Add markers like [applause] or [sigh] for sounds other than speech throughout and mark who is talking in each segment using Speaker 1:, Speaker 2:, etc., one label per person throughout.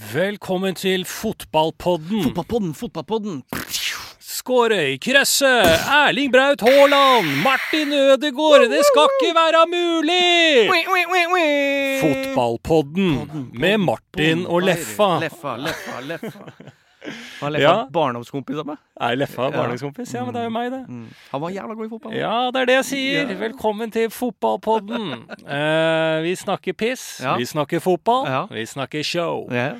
Speaker 1: Velkommen til fotballpodden.
Speaker 2: Fotballpodden, fotballpodden.
Speaker 1: Skårøy, Krøsse, Erling Braut Haaland, Martin Ødegaard. Det skal ikke være mulig! Fotballpodden med Martin og Leffa.
Speaker 2: Leffa, Leffa,
Speaker 1: [laughs]
Speaker 2: Leffa. Var Leffa
Speaker 1: Ja.
Speaker 2: barndomskompis av meg?
Speaker 1: Er Leffa barndomskompis? Ja, men det er jo meg, det.
Speaker 2: Mm. Han var jævla god i fotball.
Speaker 1: Ja, det er det jeg sier.
Speaker 2: Ja.
Speaker 1: Velkommen til fotballpodden. Eh, vi snakker piss,
Speaker 2: Ja.
Speaker 1: vi snakker fotball,
Speaker 2: Ja.
Speaker 1: vi snakker show.
Speaker 2: Ja.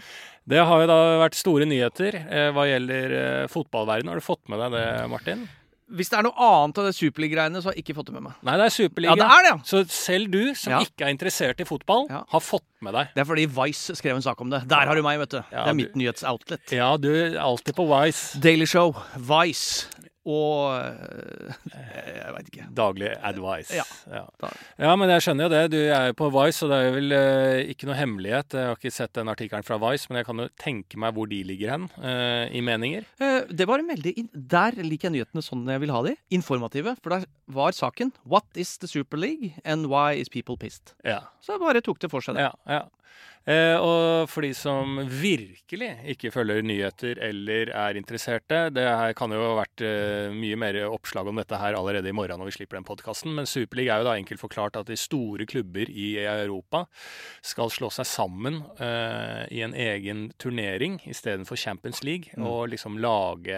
Speaker 1: Det har jo da vært store nyheter eh, hva gjelder eh, fotballverdenen. Har du fått med deg det, Martin?
Speaker 2: Hvis det er noe annet av det Superliga-greiene, så har jeg ikke fått det med meg.
Speaker 1: Nei, det er
Speaker 2: Ja,
Speaker 1: Superliga.
Speaker 2: det er det, ja!
Speaker 1: Så selv du som
Speaker 2: Ja.
Speaker 1: ikke er interessert i fotball,
Speaker 2: Ja.
Speaker 1: har fått med deg.
Speaker 2: Det er fordi Vice skrev en sak om det. Der har du meg, vet du.
Speaker 1: Ja,
Speaker 2: det
Speaker 1: du-
Speaker 2: er mitt nyhetsoutlet.
Speaker 1: Ja, du er alltid på Wise.
Speaker 2: Daily Show, Vice og øh,
Speaker 1: Eh.
Speaker 2: Jeg veit ikke.
Speaker 1: Daglig advice.
Speaker 2: Ja.
Speaker 1: Ja.
Speaker 2: Da-
Speaker 1: Ja, men jeg skjønner jo det. Du er jo på Vice, og det er vel eh, ikke noe hemmelighet. Jeg har ikke sett den artikkelen fra Vice, men jeg kan jo tenke meg hvor de ligger hen eh, i meninger.
Speaker 2: Eh, Det var en veldig in Der liker jeg nyhetene sånn jeg vil ha de. Informative. For der var saken 'What is the Super League and why is people pissed?'
Speaker 1: Ja.
Speaker 2: Så jeg bare tok det for seg. Det.
Speaker 1: ja, ja. Eh, og for de som virkelig ikke følger nyheter eller er interesserte Det her kan jo ha vært eh, mye mer oppslag om dette her allerede i morgen når vi slipper den podkasten. Men Superliga er jo da enkelt forklart at de store klubber i Europa skal slå seg sammen eh, i en egen turnering istedenfor Champions League.
Speaker 2: Mm.
Speaker 1: Og liksom lage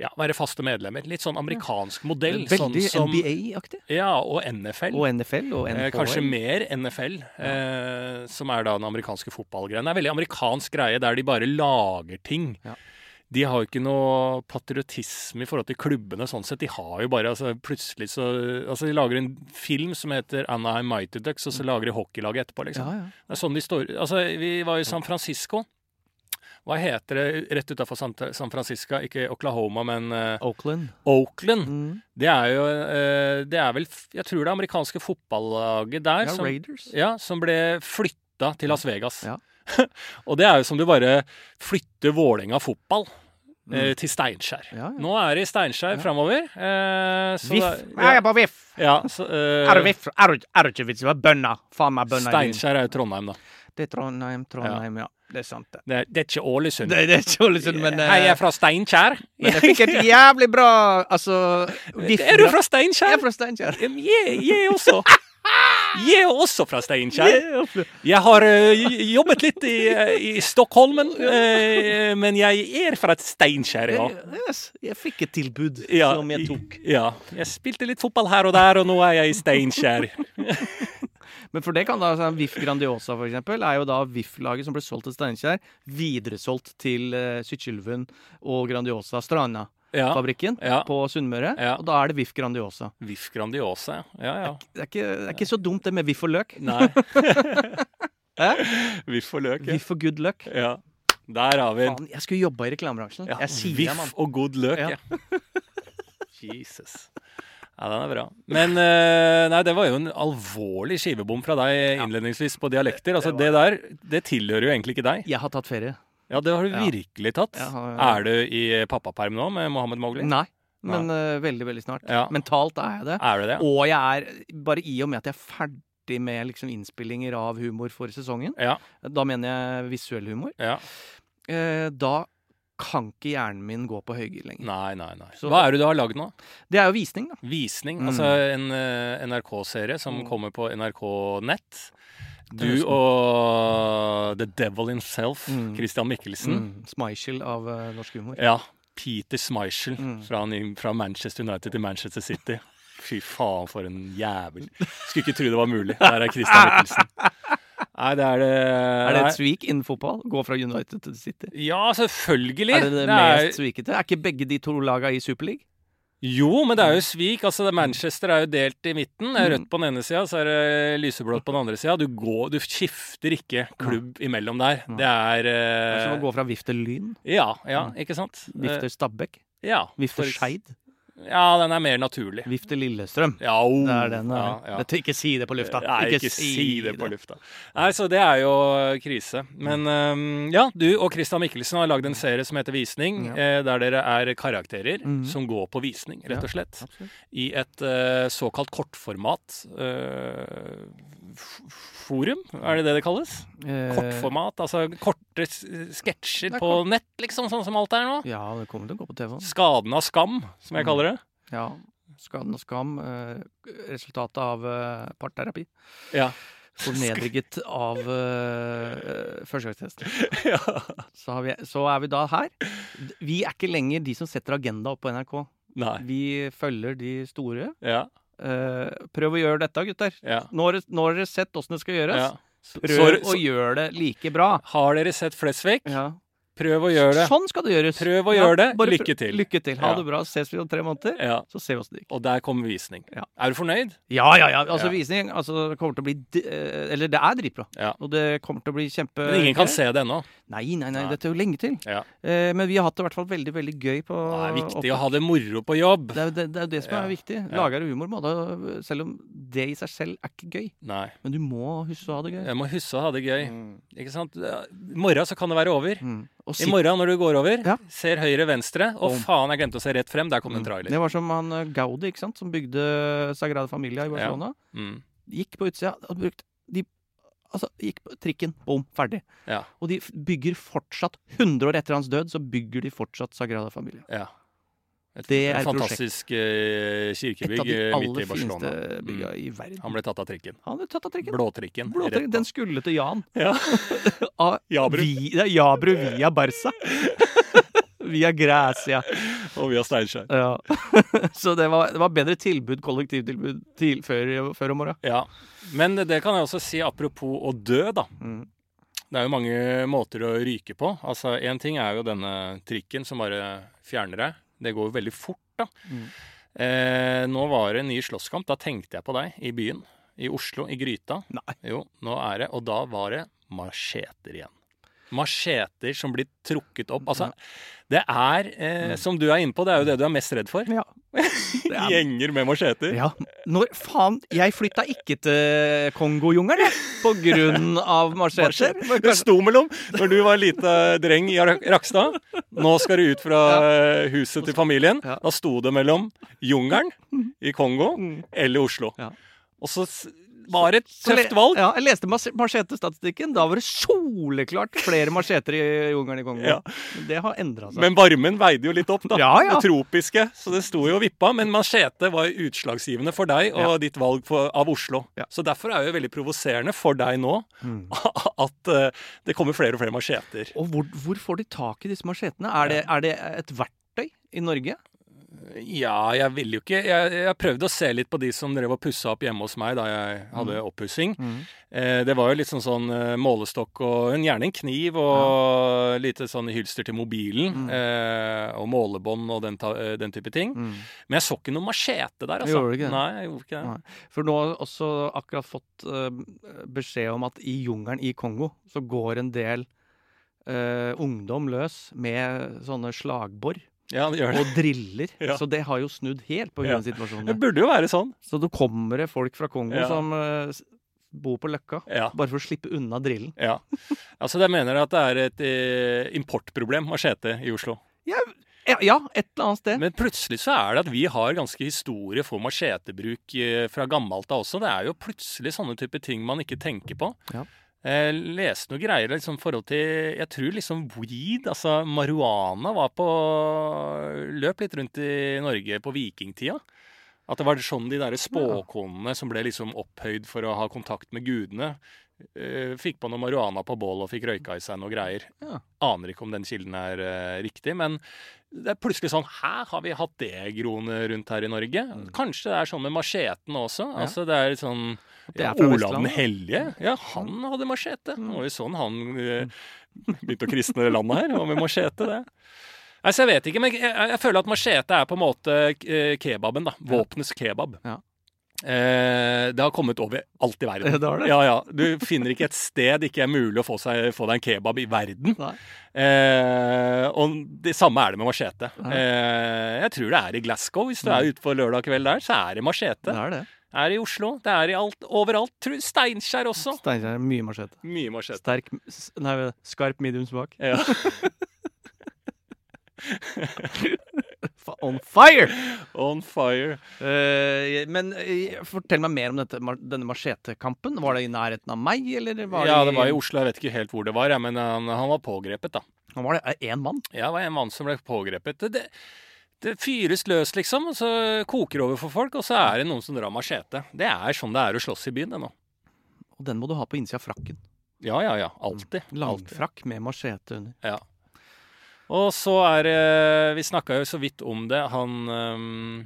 Speaker 1: Ja, være faste medlemmer. Litt sånn amerikansk modell.
Speaker 2: Veldig
Speaker 1: sånn som,
Speaker 2: NBA-aktig.
Speaker 1: Ja, og NFL.
Speaker 2: Og NFL og
Speaker 1: Eh,
Speaker 2: NHL.
Speaker 1: Kanskje mer NFL, eh, som er da den amerikanske fotballgreien. Det er en veldig amerikansk greie der de bare lager ting.
Speaker 2: Ja.
Speaker 1: De har jo ikke noe patriotisme i forhold til klubbene sånn sett. De har jo bare altså, plutselig så Altså, de lager en film som heter Anaheim Mighty Ducks, og så lager de hockeylaget etterpå, liksom.
Speaker 2: Mm. Ja, ja.
Speaker 1: Det er sånn de står Altså, vi var i San Francisco. Hva heter det rett utafor San San Francisco? Ikke Oklahoma, men eh,
Speaker 2: Oakland.
Speaker 1: Oakland.
Speaker 2: Mm.
Speaker 1: Det er jo eh, Det er vel f- Jeg tror det amerikanske fotballaget der
Speaker 2: Ja,
Speaker 1: som,
Speaker 2: Raiders.
Speaker 1: sånn- ja, som ble flytta til Las Vegas.
Speaker 2: Ja.
Speaker 1: [laughs] og det er jo som du bare flytter Vålerenga fotball eh,
Speaker 2: Mm.
Speaker 1: til Steinkjer.
Speaker 2: Ja, ja.
Speaker 1: Nå er det i Steinkjer
Speaker 2: Ja.
Speaker 1: framover. Eh, så
Speaker 2: Viff.
Speaker 1: det-
Speaker 2: Nei, jeg
Speaker 1: Ja,
Speaker 2: er bare viff.
Speaker 1: ja, så, eh,
Speaker 2: Er det viff? Er det er det ikke vits i å være bønna? Faen meg bønna i byen.
Speaker 1: Steinkjer er jo Trondheim, da.
Speaker 2: Det er Trondheim, Trondheim, ja. Det er sant, det.
Speaker 1: Det er, det er ikke Ålesund.
Speaker 2: Det, det er ikke Ålesund, men eh,
Speaker 1: Hei, jeg er fra Steinkjer.
Speaker 2: Men [laughs] jeg
Speaker 1: [laughs]
Speaker 2: fikk et jævlig bra Altså viff.
Speaker 1: Er du fra
Speaker 2: bra- Jeg
Speaker 1: Steinkjer?
Speaker 2: er fra Steinkjer.
Speaker 1: Em, Jeg, jeg
Speaker 2: [laughs]
Speaker 1: også. Jeg er også fra Steinkjer. Jeg har eh, j- jobbet litt i, eh, i
Speaker 2: [laughs]
Speaker 1: Stockholmen, eh, men jeg er fra Steinkjer,
Speaker 2: Eh,
Speaker 1: ja.
Speaker 2: Yes, jeg fikk et tilbud
Speaker 1: ja.
Speaker 2: som jeg tok.
Speaker 1: Ja. Jeg spilte litt fotball her og der, og nå er jeg i Steinkjer.
Speaker 2: Men for det kan da altså, VIF Grandiosa for eksempel, er jo da VIF-laget som ble solgt til Steinkjer, videresolgt til uh, Sykkylven og Grandiosa Stranda-fabrikken
Speaker 1: Ja. Ja.
Speaker 2: på Sunnmøre.
Speaker 1: Ja.
Speaker 2: Og da er det VIF Grandiosa.
Speaker 1: Viff Grandiosa. Ja, ja.
Speaker 2: Det er, ikke, det er ikke så dumt det med VIF og løk.
Speaker 1: Nei.
Speaker 2: [laughs] Hæ?
Speaker 1: Viff og løk, ja.
Speaker 2: VIF og good luck.
Speaker 1: ja. Der har vi den.
Speaker 2: Faen, jeg skulle jobba i reklamebransjen.
Speaker 1: Ja,
Speaker 2: Jeg sier det, mann.
Speaker 1: Viff og god løk,
Speaker 2: Ja.
Speaker 1: ja.
Speaker 2: [laughs]
Speaker 1: Jesus. Ja, den er bra. Men eh, nei, det var jo en alvorlig skivebom fra deg innledningsvis på dialekter. Altså, det, der, det tilhører jo egentlig ikke deg.
Speaker 2: Jeg har tatt ferie.
Speaker 1: Ja, det har du
Speaker 2: Ja.
Speaker 1: virkelig tatt.
Speaker 2: Jeg har-
Speaker 1: Er du i pappaperm nå med Mohammed Mowgli?
Speaker 2: Nei, men eh, veldig, veldig snart.
Speaker 1: Ja.
Speaker 2: Mentalt er jeg det.
Speaker 1: Er du det?
Speaker 2: Og jeg er, bare i og med at jeg er ferdig med liksom innspillinger av humor for sesongen,
Speaker 1: Ja.
Speaker 2: da mener jeg visuell humor,
Speaker 1: ja.
Speaker 2: eh, da kan ikke hjernen min gå på høygir lenger.
Speaker 1: Nei, nei, nei.
Speaker 2: Så-
Speaker 1: Hva er det du har lagd nå?
Speaker 2: Det er jo visning, da.
Speaker 1: Visning.
Speaker 2: Mm.
Speaker 1: Altså en eh, NRK-serie som
Speaker 2: Mm.
Speaker 1: kommer på NRK Nett. Du
Speaker 2: Høsten.
Speaker 1: og The Devil himself,
Speaker 2: Mm.
Speaker 1: Christian Mikkelsen.
Speaker 2: Mm, Smichel av eh, norsk humor.
Speaker 1: Ja. Peter Schmeichel
Speaker 2: Mm.
Speaker 1: fra, ny- fra Manchester United til Manchester City. Fy faen, for en jævel. Skulle ikke tro det var mulig. Der er Christian
Speaker 2: [laughs]
Speaker 1: Mikkelsen. Nei, det er det
Speaker 2: Er det
Speaker 1: nei.
Speaker 2: et svik innen fotball? Gå fra United til City?
Speaker 1: Ja, selvfølgelig.
Speaker 2: Er det det
Speaker 1: er-
Speaker 2: mest svikete? Er ikke begge de to laga i Superliga?
Speaker 1: Jo, men det er jo svik. Altså, det- Manchester er jo delt i midten. Det er rødt på den ene sida, så er det lyseblått på den andre sida. Du, går- du skifter ikke klubb imellom der. Det er
Speaker 2: Det er som å
Speaker 1: eh,
Speaker 2: gå fra Vifter Lyn,
Speaker 1: Ja, ja, ikke sant? Eh,
Speaker 2: Vifter Stabæk,
Speaker 1: ja, for
Speaker 2: Vifter
Speaker 1: eks-
Speaker 2: Skeid.
Speaker 1: Ja, den er mer naturlig.
Speaker 2: Vift til Lillestrøm.
Speaker 1: Ja, oh,
Speaker 2: Det er den.
Speaker 1: ja,
Speaker 2: Ja,
Speaker 1: ja.
Speaker 2: Dette, ikke si det på lufta.
Speaker 1: Nei, ikke, si det på lufta. Nei, så det er jo eh, krise. Men øhm, ja, du og Christian Mikkelsen har lagd en serie som heter Visning,
Speaker 2: Ja.
Speaker 1: eh, der dere er karakterer
Speaker 2: Mhm.
Speaker 1: som går på visning, rett og slett.
Speaker 2: Absolutt.
Speaker 1: I et eh, såkalt kortformat eh, f- forum, er det det det kalles?
Speaker 2: Eh,
Speaker 1: Kortformat, altså korte s- sketsjer
Speaker 2: det er
Speaker 1: på nett, liksom, sånn som alt er nå.
Speaker 2: Ja, det kommer til å gå på TV. da.
Speaker 1: Skaden av skam, som jeg
Speaker 2: Mhm.
Speaker 1: kaller det.
Speaker 2: Ja. Skaden og skam. eh, resultatet av eh, parterapi.
Speaker 1: Ja.
Speaker 2: Fornedriget av uh, førstegangstesten.
Speaker 1: [laughs] ja.
Speaker 2: Så, har vi- så er vi da her. Vi er ikke lenger de som setter agenda opp på NRK.
Speaker 1: Nei.
Speaker 2: Vi følger de store.
Speaker 1: Ja.
Speaker 2: Eh, prøv å gjøre dette, gutter.
Speaker 1: Ja.
Speaker 2: Nå har dere- nå har dere sett åssen det skal gjøres.
Speaker 1: ja.
Speaker 2: Prøv
Speaker 1: Så-
Speaker 2: å
Speaker 1: så-
Speaker 2: gjøre det like bra.
Speaker 1: Har dere sett Flesvig? Prøv å gjøre det.
Speaker 2: Sånn skal det gjøres.
Speaker 1: Prøv å
Speaker 2: Ja,
Speaker 1: gjøre det.
Speaker 2: bare prøv-
Speaker 1: Lykke til.
Speaker 2: Lykke til. Ha
Speaker 1: Ja.
Speaker 2: det bra. Ses vi om tre måneder.
Speaker 1: Ja,
Speaker 2: Så ser vi åssen det gikk.
Speaker 1: og der kommer visning.
Speaker 2: Ja.
Speaker 1: Er du fornøyd?
Speaker 2: Ja, ja, ja. Altså,
Speaker 1: Ja.
Speaker 2: visning altså, det kommer til å bli d- eh, Eller det er dritbra.
Speaker 1: Ja.
Speaker 2: Og det kommer til å bli kjempe...
Speaker 1: Men ingen kan se det ennå.
Speaker 2: Nei, nei, nei.
Speaker 1: Nei.
Speaker 2: Dette er jo lenge til.
Speaker 1: Ja.
Speaker 2: Eh, men vi har hatt det i hvert fall veldig, veldig gøy på
Speaker 1: Det er viktig å
Speaker 2: opp-
Speaker 1: ha det moro på jobb.
Speaker 2: det er, jo det, det er jo det som
Speaker 1: Ja.
Speaker 2: er viktig.
Speaker 1: Ja.
Speaker 2: Lager du humor, må da, selv om det i seg selv er ikke gøy.
Speaker 1: Nei.
Speaker 2: Men du må huske å ha det gøy.
Speaker 1: Jeg må huske å ha det gøy.
Speaker 2: Mm.
Speaker 1: Ikke sant? I morgen så kan det være over.
Speaker 2: Mm. Og
Speaker 1: I
Speaker 2: sitt-
Speaker 1: morgen når du går over,
Speaker 2: Ja.
Speaker 1: ser høyre, venstre. Å,
Speaker 2: Om.
Speaker 1: faen, jeg glemte å se rett frem. Der kom en
Speaker 2: Mm.
Speaker 1: trailer.
Speaker 2: Det var som han eh, Gaudi, ikke sant, som bygde Sagrada Familia i Barcelona.
Speaker 1: Mm.
Speaker 2: Gikk på utsida, hadde brukt de, Altså, gikk på trikken, bom, ferdig.
Speaker 1: Ja.
Speaker 2: Og de f- bygger fortsatt, 100 år etter hans død, så bygger de fortsatt Sagrada Familia.
Speaker 1: Ja. Et
Speaker 2: Det er et
Speaker 1: fantastisk eh,
Speaker 2: Et av
Speaker 1: kirkebygg
Speaker 2: de
Speaker 1: eh, midt
Speaker 2: aller
Speaker 1: i
Speaker 2: fineste
Speaker 1: Barcelona. Mm.
Speaker 2: bygga i verden.
Speaker 1: Han ble tatt av trikken.
Speaker 2: Han ble tatt av trikken.
Speaker 1: Blåtrikken.
Speaker 2: Blåtrikken, Den skulle til Jan.
Speaker 1: Ja. [laughs]
Speaker 2: Av
Speaker 1: Jabru.
Speaker 2: Vi, det er Jabru
Speaker 1: [laughs]
Speaker 2: via Barca. via Græsia.
Speaker 1: Og via Steinkjer.
Speaker 2: Ja. [laughs] så det var, det var bedre tilbud, kollektivtilbud, til, før, før om morgenen.
Speaker 1: Ja. Men det kan jeg også si apropos å dø, da.
Speaker 2: Mm.
Speaker 1: Det er jo mange måter å ryke på. Altså, Én ting er jo denne trikken som bare fjerner deg. Det går jo veldig fort, da.
Speaker 2: Mm.
Speaker 1: Eh, nå var det en ny slåsskamp. Da tenkte jeg på deg i byen. I Oslo, i Gryta.
Speaker 2: Nei.
Speaker 1: Jo, nå er det Og da var det macheter igjen. Macheter som blir trukket opp. Altså, det er, eh,
Speaker 2: Mm.
Speaker 1: som du er inne på, det er jo det du er mest redd for. [laughs]
Speaker 2: Ja. Det er-
Speaker 1: Gjenger med macheter.
Speaker 2: Ja, når faen Jeg flytta ikke til Kongojungelen, jeg, på grunn av marsjetter.
Speaker 1: [laughs] Det sto mellom når du var lite dreng i Rak- Rakstad. Nå skal du ut fra eh, huset til familien.
Speaker 2: Ja. Mhm.
Speaker 1: Da sto det mellom jungelen i Kongo eller Oslo.
Speaker 2: Ja.
Speaker 1: Og så s- var det et tøft valg.
Speaker 2: Ja, jeg leste mas- marsjetestatistikken. Da var det soleklart flere marsjeter i jungelen i Kongo.
Speaker 1: Ja.
Speaker 2: Men Det har endra seg.
Speaker 1: Men varmen veide jo litt opp, da.
Speaker 2: Ja, ja.
Speaker 1: Det tropiske. Så det sto jo og vippa. Men machete var utslagsgivende for deg og ditt valg for, av Oslo.
Speaker 2: Ja.
Speaker 1: Så derfor er det jo veldig provoserende for deg nå [laughs]
Speaker 2: Mm.
Speaker 1: at eh, det kommer flere og flere macheter.
Speaker 2: Og hvor, hvor får de tak i disse marsjetene? Er, det- er det et verktøy i Norge?
Speaker 1: Ja, jeg ville jo ikke Jeg, jeg prøvde å se litt på de som drev og pussa opp hjemme hos meg da jeg hadde
Speaker 2: Mm.
Speaker 1: oppussing. Eh, det var jo litt sånn, sånn eh, målestokk og en, gjerne en kniv og lite sånn hylster til mobilen.
Speaker 2: Mm.
Speaker 1: Eh, og målebånd og den, ta, eh, den type ting. Men jeg så ikke noe machete der, altså.
Speaker 2: Gjorde du ikke det?
Speaker 1: Nei, jeg gjorde ikke det.
Speaker 2: Nei. For nå har jeg også akkurat fått eh, beskjed om at i jungelen i Kongo så går en del eh, ungdom løs med sånne slagbor
Speaker 1: Ja, det [laughs] gjør det.
Speaker 2: og driller.
Speaker 1: Ja.
Speaker 2: Så det har jo snudd helt på
Speaker 1: Ja.
Speaker 2: grunn av situasjonen.
Speaker 1: [laughs] Det
Speaker 2: der.
Speaker 1: burde jo være sånn.
Speaker 2: Så da kommer det folk fra Kongo
Speaker 1: Ja.
Speaker 2: som eh, s- bor på Løkka.
Speaker 1: Ja.
Speaker 2: Bare for å slippe unna drillen.
Speaker 1: ja. Altså, jeg mener at det er et eh, importproblem machete i Oslo.
Speaker 2: Ja, ja et eller annet sted.
Speaker 1: Men plutselig så er det at vi har ganske historie for machetebruk eh, fra gammelt av også. Det er jo plutselig sånne type ting man ikke tenker på.
Speaker 2: Ja.
Speaker 1: Jeg Eh, leste noen greier liksom forhold til Jeg tror liksom weed, altså marihuana, var på Løp litt rundt i Norge på vikingtida. At det var sånn de derre spåkonene som ble liksom opphøyd for å ha kontakt med gudene, eh, fikk på noe marihuana på bål og fikk røyka i seg noe greier.
Speaker 2: Ja.
Speaker 1: Aner ikke om den kilden er eh, riktig, men det er plutselig sånn Hæ, har vi hatt det groende rundt her i Norge? Kanskje det er sånn med macheten også?
Speaker 2: Mm. Ja.
Speaker 1: Altså det er sånn
Speaker 2: Det er
Speaker 1: ja,
Speaker 2: fra
Speaker 1: Olav
Speaker 2: Vestlandet.
Speaker 1: den hellige, ja, han hadde machete. Det var jo sånn han eh, begynte å kristne landet her. Det var med machete, det. Nei, så jeg vet ikke, men jeg, jeg føler at machete er på en måte eh, kebaben, da. Våpenets kebab.
Speaker 2: Ja.
Speaker 1: Eh, det har kommet over alt i verden.
Speaker 2: Det har det?
Speaker 1: Ja, ja. Du finner ikke et sted det ikke er mulig å få, seg, få deg en kebab i verden.
Speaker 2: Nei.
Speaker 1: Eh, og det samme er det med machete.
Speaker 2: Ja. Mm.
Speaker 1: Eh, jeg tror det er i Glasgow. Hvis du er ute på lørdag kveld der, så er det
Speaker 2: Det
Speaker 1: machete.
Speaker 2: er det.
Speaker 1: Er i Oslo. Det er i alt, overalt. Tror- Steinkjer også.
Speaker 2: Steinkjer. Mye machete.
Speaker 1: Mye machete.
Speaker 2: Sterk s- Nei, skarp medium svak.
Speaker 1: Ja.
Speaker 2: Fa- On fire!
Speaker 1: [laughs] On fire.
Speaker 2: Eh, men eh, fortell meg mer om dette, ma- denne machetekampen. Var det i nærheten av meg, eller var det
Speaker 1: Ja, det var i Oslo. Jeg vet ikke helt hvor det var, jeg, men han, han var pågrepet, da.
Speaker 2: Han var det én mann.
Speaker 1: Ja, det var en mann som ble pågrepet. Det, det, det fyres løs, liksom, og så koker det over for folk, og så er det noen som drar machete. Det er sånn det er å slåss i byen, det nå.
Speaker 2: Og den må du ha på innsida av frakken.
Speaker 1: Ja, ja, ja. Alltid. Alltid.
Speaker 2: Langfrakk med machete under.
Speaker 1: Ja. Og så er det Vi snakka jo så vidt om det, han ehm,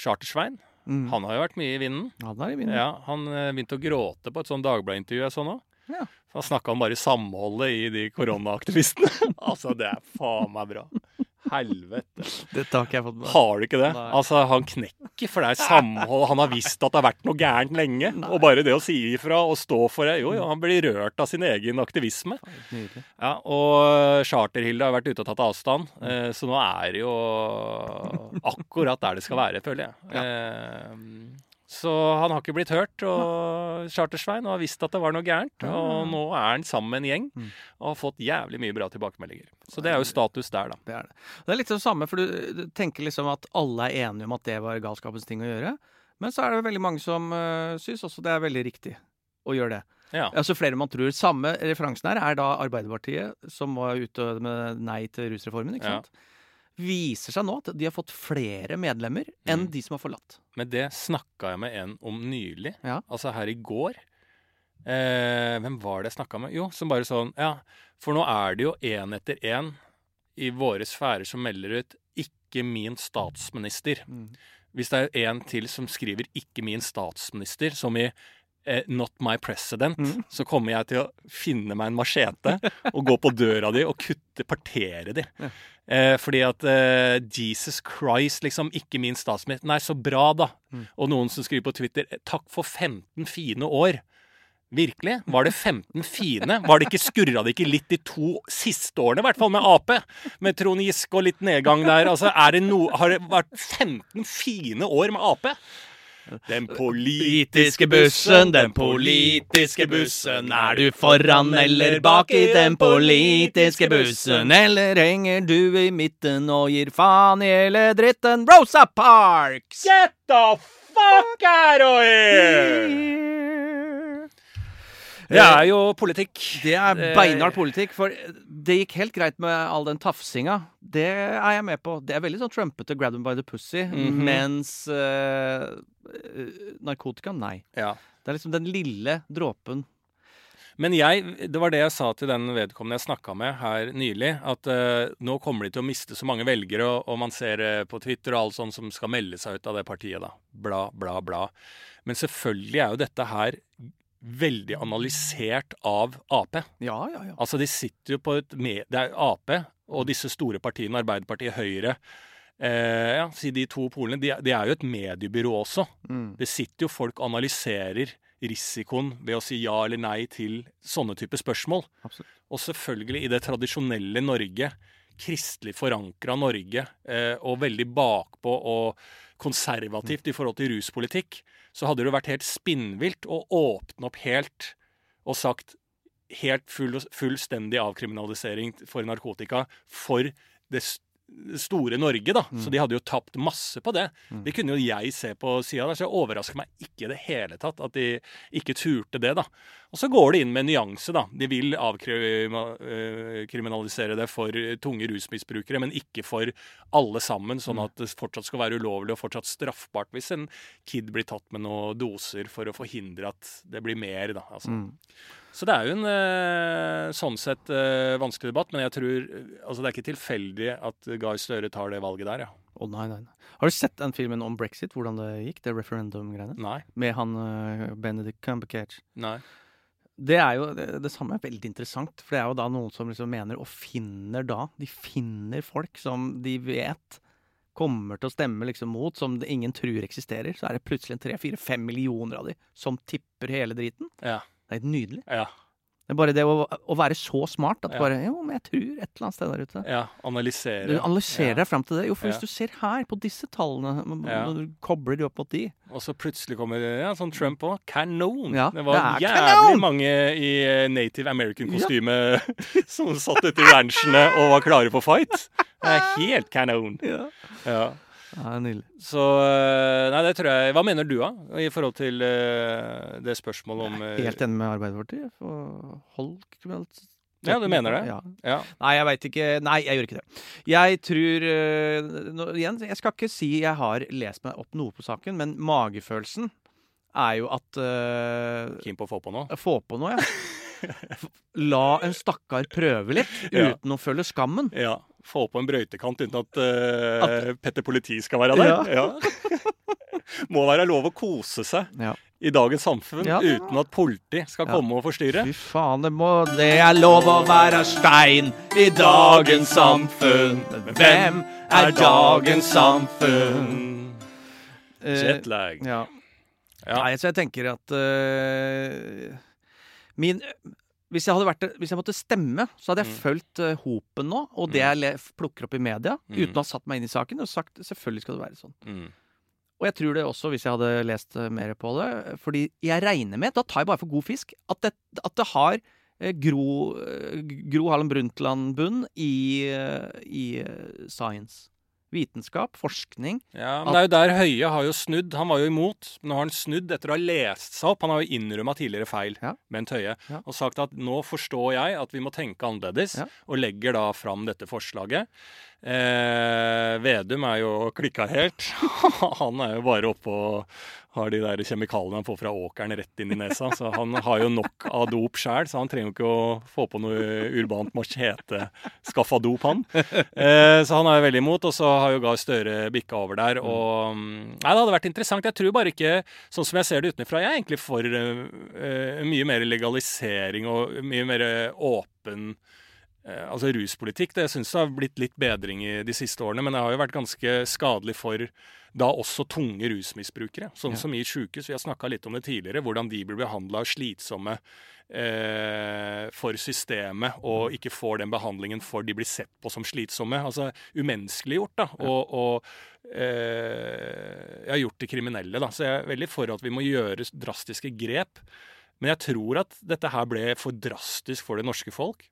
Speaker 1: Chartersvein.
Speaker 2: Mm.
Speaker 1: Han har jo vært mye i vinden.
Speaker 2: Han er i vinden.
Speaker 1: Ja, Han eh, begynte å gråte på et sånn Dagbladet-intervju jeg så nå.
Speaker 2: Ja.
Speaker 1: Så Han snakka om bare samholdet i de koronaaktivistene. altså, det er faen meg bra. Helvete.
Speaker 2: Dette har ikke jeg fått med meg.
Speaker 1: Har du ikke det?
Speaker 2: Nei.
Speaker 1: Altså, han knekker, for det er samhold. Han har visst at det har vært noe gærent lenge. Og bare det å si ifra og stå for det Jo, jo, han blir rørt av sin egen aktivisme.
Speaker 2: Nydelig.
Speaker 1: Ja, Og Charter-Hilde har vært ute og tatt avstand, eh, så nå er det jo akkurat der det skal være, føler jeg. Eh, Så han har ikke blitt hørt, og Charter-Svein har visst at det var noe gærent. Og nå er han sammen med en gjeng og har fått jævlig mye bra tilbakemeldinger. Så det er jo status der, da.
Speaker 2: Det er det. Og Det er litt det samme, for du du tenker liksom at alle er enige om at det var galskapens ting å gjøre. Men så er det veldig mange som uh, syns også det er veldig riktig å gjøre det.
Speaker 1: Ja.
Speaker 2: Altså flere enn man tror. Samme referansen her er da Arbeiderpartiet, som var ute med nei til rusreformen, ikke
Speaker 1: Ja.
Speaker 2: sant. Viser seg nå at de har fått flere medlemmer
Speaker 1: Mm.
Speaker 2: enn de som har forlatt.
Speaker 1: Men det snakka jeg med en om nylig,
Speaker 2: Ja.
Speaker 1: altså her i går. Eh, hvem var det jeg snakka med? Jo, som bare sånn Ja, for nå er det jo én etter én i våre sfærer som melder ut 'ikke min statsminister'. Hvis det er en til som skriver 'ikke min statsminister', som i eh, 'not my president', så kommer jeg til å finne meg en machete og gå på døra di og kutte, partere de. Eh, fordi at eh, Jesus Christ, liksom, ikke min statsminister. Nei, så bra, da. Og noen som skriver på Twitter eh, Takk for 15 fine år. Virkelig? Var det 15 fine? Var det ikke, skurra det ikke litt de to siste årene, i hvert fall med Ap? Med Trond Giske og litt nedgang der. Altså, er det no, har det vært 15 fine år med Ap? Den politiske bussen, den politiske bussen. Er du
Speaker 2: foran
Speaker 1: eller bak i den politiske bussen?
Speaker 2: Eller henger du i midten og gir faen i hele dritten? Rosa Parks!
Speaker 1: Get the fuck out of here! Det er jo politikk.
Speaker 2: Det er beinhard politikk, for det gikk helt greit med all den tafsinga. Det er jeg med på. Det er veldig sånn trumpete grab them by the pussy, mens eh, eh, narkotika, nei.
Speaker 1: Ja.
Speaker 2: Det er liksom den lille dråpen.
Speaker 1: Men jeg, det var det jeg sa til den vedkommende jeg snakka med her nylig, at eh, nå kommer de til å miste så mange velgere, og, og man ser eh, på Twitter og alt sånt som skal melde seg ut av det partiet, da. Bla, bla, bla. Men selvfølgelig er jo dette her veldig analysert av Ap.
Speaker 2: Ja, ja, ja.
Speaker 1: Altså, de sitter jo på et med... Det er Ap og disse store partiene, Arbeiderpartiet, Høyre. Eh, ja, si de to polene. De, er- de er jo et mediebyrå også.
Speaker 2: Mm.
Speaker 1: Det sitter jo folk og analyserer risikoen ved å si ja eller nei til sånne type spørsmål.
Speaker 2: Absolutt.
Speaker 1: Og selvfølgelig i det tradisjonelle Norge, kristelig forankra Norge, eh, og veldig bakpå og konservativt
Speaker 2: Mm.
Speaker 1: i forhold til ruspolitikk, så hadde det vært helt spinnvilt å åpne opp helt og sagt helt full, fullstendig avkriminalisering for narkotika for det s- store Norge, da. Så de hadde jo tapt masse på det. Det kunne jo jeg se på sida der, så det overrasker meg ikke i det hele tatt at de ikke turte det, da. Og så går det inn med en nyanse, da. De vil avkriminalisere det for tunge rusmisbrukere, men ikke for alle sammen, sånn at det fortsatt skal være ulovlig og fortsatt straffbart hvis en kid blir tatt med noen doser for å forhindre at det blir mer, da. Altså.
Speaker 2: Mm.
Speaker 1: Så det er jo en eh, sånn sett eh, vanskelig debatt, men jeg tror Altså, det er ikke tilfeldig at Gahr Støre tar det valget der, ja.
Speaker 2: Å nei, nei, nei. Har du sett den filmen om brexit, hvordan det gikk, det referendum-greiene?
Speaker 1: Nei.
Speaker 2: Med han eh, Benedict Cumbercatch.
Speaker 1: Nei.
Speaker 2: Det er jo det, det samme er veldig interessant, for det er jo da noen som liksom mener og finner da De finner folk som de vet kommer til å stemme liksom mot, som det ingen tror eksisterer, så er det plutselig en tre-fire-fem millioner av de som tipper hele driten.
Speaker 1: Ja.
Speaker 2: Det er helt nydelig.
Speaker 1: Ja.
Speaker 2: Det er bare det å, å være så smart at
Speaker 1: Ja.
Speaker 2: bare Jo, men jeg tror et eller annet sted der ute.
Speaker 1: ja. Analysere.
Speaker 2: Du analyserer
Speaker 1: Ja.
Speaker 2: deg fram til det. Jo, for
Speaker 1: Ja.
Speaker 2: hvis du ser her på disse tallene, m-
Speaker 1: Ja.
Speaker 2: når du kobler de opp mot de
Speaker 1: Og så plutselig kommer ja, sånn Trump òg. Kanon!
Speaker 2: Ja,
Speaker 1: det var
Speaker 2: det er
Speaker 1: jævlig
Speaker 2: kanon!
Speaker 1: mange i eh, native American-kostyme [laughs] som satt ute i ranchene og var klare for fight. Det er helt kanon.
Speaker 2: Ja,
Speaker 1: Ja.
Speaker 2: ja nydelig.
Speaker 1: Så eh, Nei, det tror jeg Hva mener du, da? I forhold til eh, det spørsmålet om eh,
Speaker 2: Helt enig med Arbeiderpartiet. for Hold kriminalitet
Speaker 1: Ja, du mener det?
Speaker 2: Ja.
Speaker 1: Ja.
Speaker 2: Nei, jeg veit ikke. Nei, jeg gjør ikke det. Jeg tror eh, nå, Igjen, jeg skal ikke si jeg har lest meg opp noe på saken, men magefølelsen er jo at eh,
Speaker 1: Keen på å få på noe?
Speaker 2: Få på noe,
Speaker 1: [laughs]
Speaker 2: ja. F- La en stakkar prøve litt
Speaker 1: Ja.
Speaker 2: uten å føle skammen.
Speaker 1: Ja. Få på en brøytekant uten at, eh, Petter Politi skal være der? Ja. [laughs] Må være lov å kose seg
Speaker 2: Ja.
Speaker 1: i dagens samfunn
Speaker 2: Ja, det må-
Speaker 1: uten at politi skal
Speaker 2: Ja.
Speaker 1: komme og forstyrre.
Speaker 2: Fy faen, det må Det er lov å være stein i dagens samfunn. Men hvem er dagens samfunn? Eh,
Speaker 1: Jetlag.
Speaker 2: Ja.
Speaker 1: Ja.
Speaker 2: Nei, så jeg tenker at eh, min hvis jeg, hadde vært, hvis jeg måtte stemme, så hadde jeg fulgt eh, hopen nå, og det jeg le, plukker opp i media,
Speaker 1: Mm.
Speaker 2: uten å ha satt meg inn i saken, og sagt selvfølgelig skal det være sånn.
Speaker 1: Mm.
Speaker 2: Og jeg tror det også, hvis jeg hadde lest eh, mer på det, fordi jeg regner med, da tar jeg bare for god fisk, at det, at det har eh, Gro, eh, Gro Harlem Brundtland-bunn i, eh, i eh, science. Vitenskap, forskning.
Speaker 1: Ja, men det er jo der Høie har jo snudd. Han var jo imot. men Nå har han snudd etter å ha lest seg opp. Han har jo innrømma tidligere feil,
Speaker 2: Ja.
Speaker 1: Bent Høie,
Speaker 2: Ja.
Speaker 1: og sagt at nå forstår jeg at vi må tenke annerledes,
Speaker 2: Ja.
Speaker 1: og legger da fram dette forslaget. Eh, Vedum er jo klikka helt. [laughs] han er jo bare oppe og har de der kjemikaliene han får fra åkeren rett inn i nesa. Så han har jo nok av dop sjæl, så han trenger jo ikke å få på noe urbant machete skaffa dop, han. Eh, så han er jo veldig imot, og så har jo Gahr Støre bikka over der. Og mm, Nei, det hadde vært interessant. Jeg tror bare ikke, sånn som jeg ser det utenfra, jeg er egentlig for eh, eh, mye mer legalisering og mye mer åpen eh, Altså ruspolitikk. Det syns jeg har blitt litt bedring i de siste årene, men det har jo vært ganske skadelig for da også tunge rusmisbrukere, sånn
Speaker 2: Ja.
Speaker 1: som i sjukehus. Vi har snakka litt om det tidligere, hvordan de blir behandla slitsomme eh, for systemet og ikke får den behandlingen for de blir sett på som slitsomme. Altså umenneskeliggjort, da. Og, og eh, ja, gjort til kriminelle, da. Så jeg er veldig for at vi må gjøre drastiske grep. Men jeg tror at dette her ble for drastisk for det norske folk.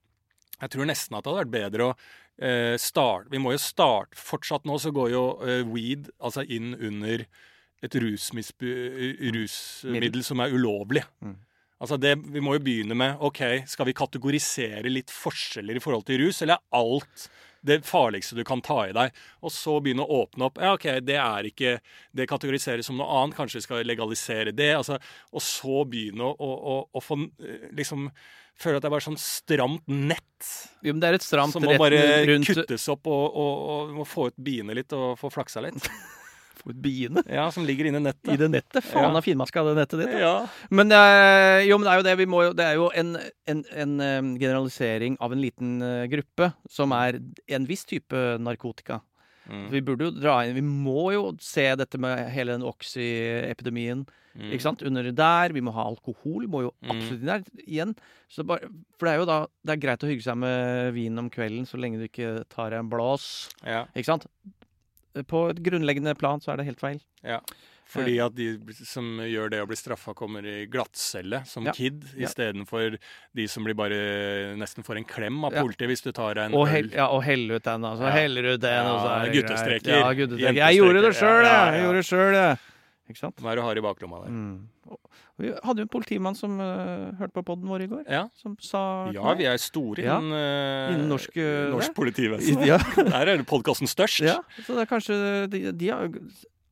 Speaker 1: Jeg tror nesten at det hadde vært bedre å eh, starte Vi må jo starte Fortsatt nå så går jo eh, weed altså inn under et rusmisbu, rusmiddel som er ulovlig.
Speaker 2: Mm.
Speaker 1: Altså det, Vi må jo begynne med ok, skal vi kategorisere litt forskjeller i forhold til rus, eller er alt det farligste du kan ta i deg? Og så begynne å åpne opp. Ja, OK, det er ikke Det kategoriseres som noe annet. Kanskje vi skal legalisere det? altså, Og så begynne å, å, å, å få eh, liksom Føle at det er bare sånn stramt nett
Speaker 2: Jo, men det er et stramt
Speaker 1: som må
Speaker 2: rett
Speaker 1: bare
Speaker 2: rundt
Speaker 1: kuttes opp og, og, og vi må få ut biene litt og få flaksa [laughs] litt.
Speaker 2: For biene.
Speaker 1: Ja, som ligger inni nettet.
Speaker 2: I det nettet. Faen
Speaker 1: Ja.
Speaker 2: er finmaska det nettet ditt. da.
Speaker 1: Ja.
Speaker 2: Men, eh, jo, men det er jo det vi må jo Det er jo en, en, en eh, generalisering av en liten eh, gruppe som er en viss type narkotika.
Speaker 1: Mm.
Speaker 2: Vi burde jo dra inn Vi må jo se dette med hele den oxy-epidemien
Speaker 1: Mm.
Speaker 2: ikke sant? under der. Vi må ha alkohol. Må jo absolutt inn der igjen. Så bare, for det er jo da Det er greit å hygge seg med vin om kvelden så lenge du ikke tar deg en blås.
Speaker 1: Ja.
Speaker 2: Ikke sant? På et grunnleggende plan så er det helt feil.
Speaker 1: Fordi at de som gjør det å bli straffa, kommer i glattcelle som
Speaker 2: Ja.
Speaker 1: kid,
Speaker 2: Ja.
Speaker 1: istedenfor de som blir bare nesten får en klem av
Speaker 2: Ja.
Speaker 1: politiet hvis du tar deg en
Speaker 2: Og,
Speaker 1: øl.
Speaker 2: hell, ja, og helle ut den, altså.
Speaker 1: Ja.
Speaker 2: Heller ut den, og så
Speaker 1: Ja,
Speaker 2: er det greit.
Speaker 1: guttestreker.
Speaker 2: Ja, guttestreker.
Speaker 1: Jentestreker.
Speaker 2: Jeg gjorde det
Speaker 1: Ja, ja,
Speaker 2: sjøl, jeg.
Speaker 1: ja.
Speaker 2: jeg. gjorde det selv, jeg. Ikke sant?
Speaker 1: Som er du har i baklomma der.
Speaker 2: Mm. Og Vi hadde jo en politimann som eh, hørte på poden vår i går,
Speaker 1: Ja.
Speaker 2: som sa
Speaker 1: ja, vi er store
Speaker 2: Ja.
Speaker 1: innen, eh,
Speaker 2: Innen norsk, eh,
Speaker 1: norsk
Speaker 2: til meg.
Speaker 1: [laughs] politivesen.
Speaker 2: ja,
Speaker 1: Der er podkasten størst.
Speaker 2: ja, så det er kanskje de, de har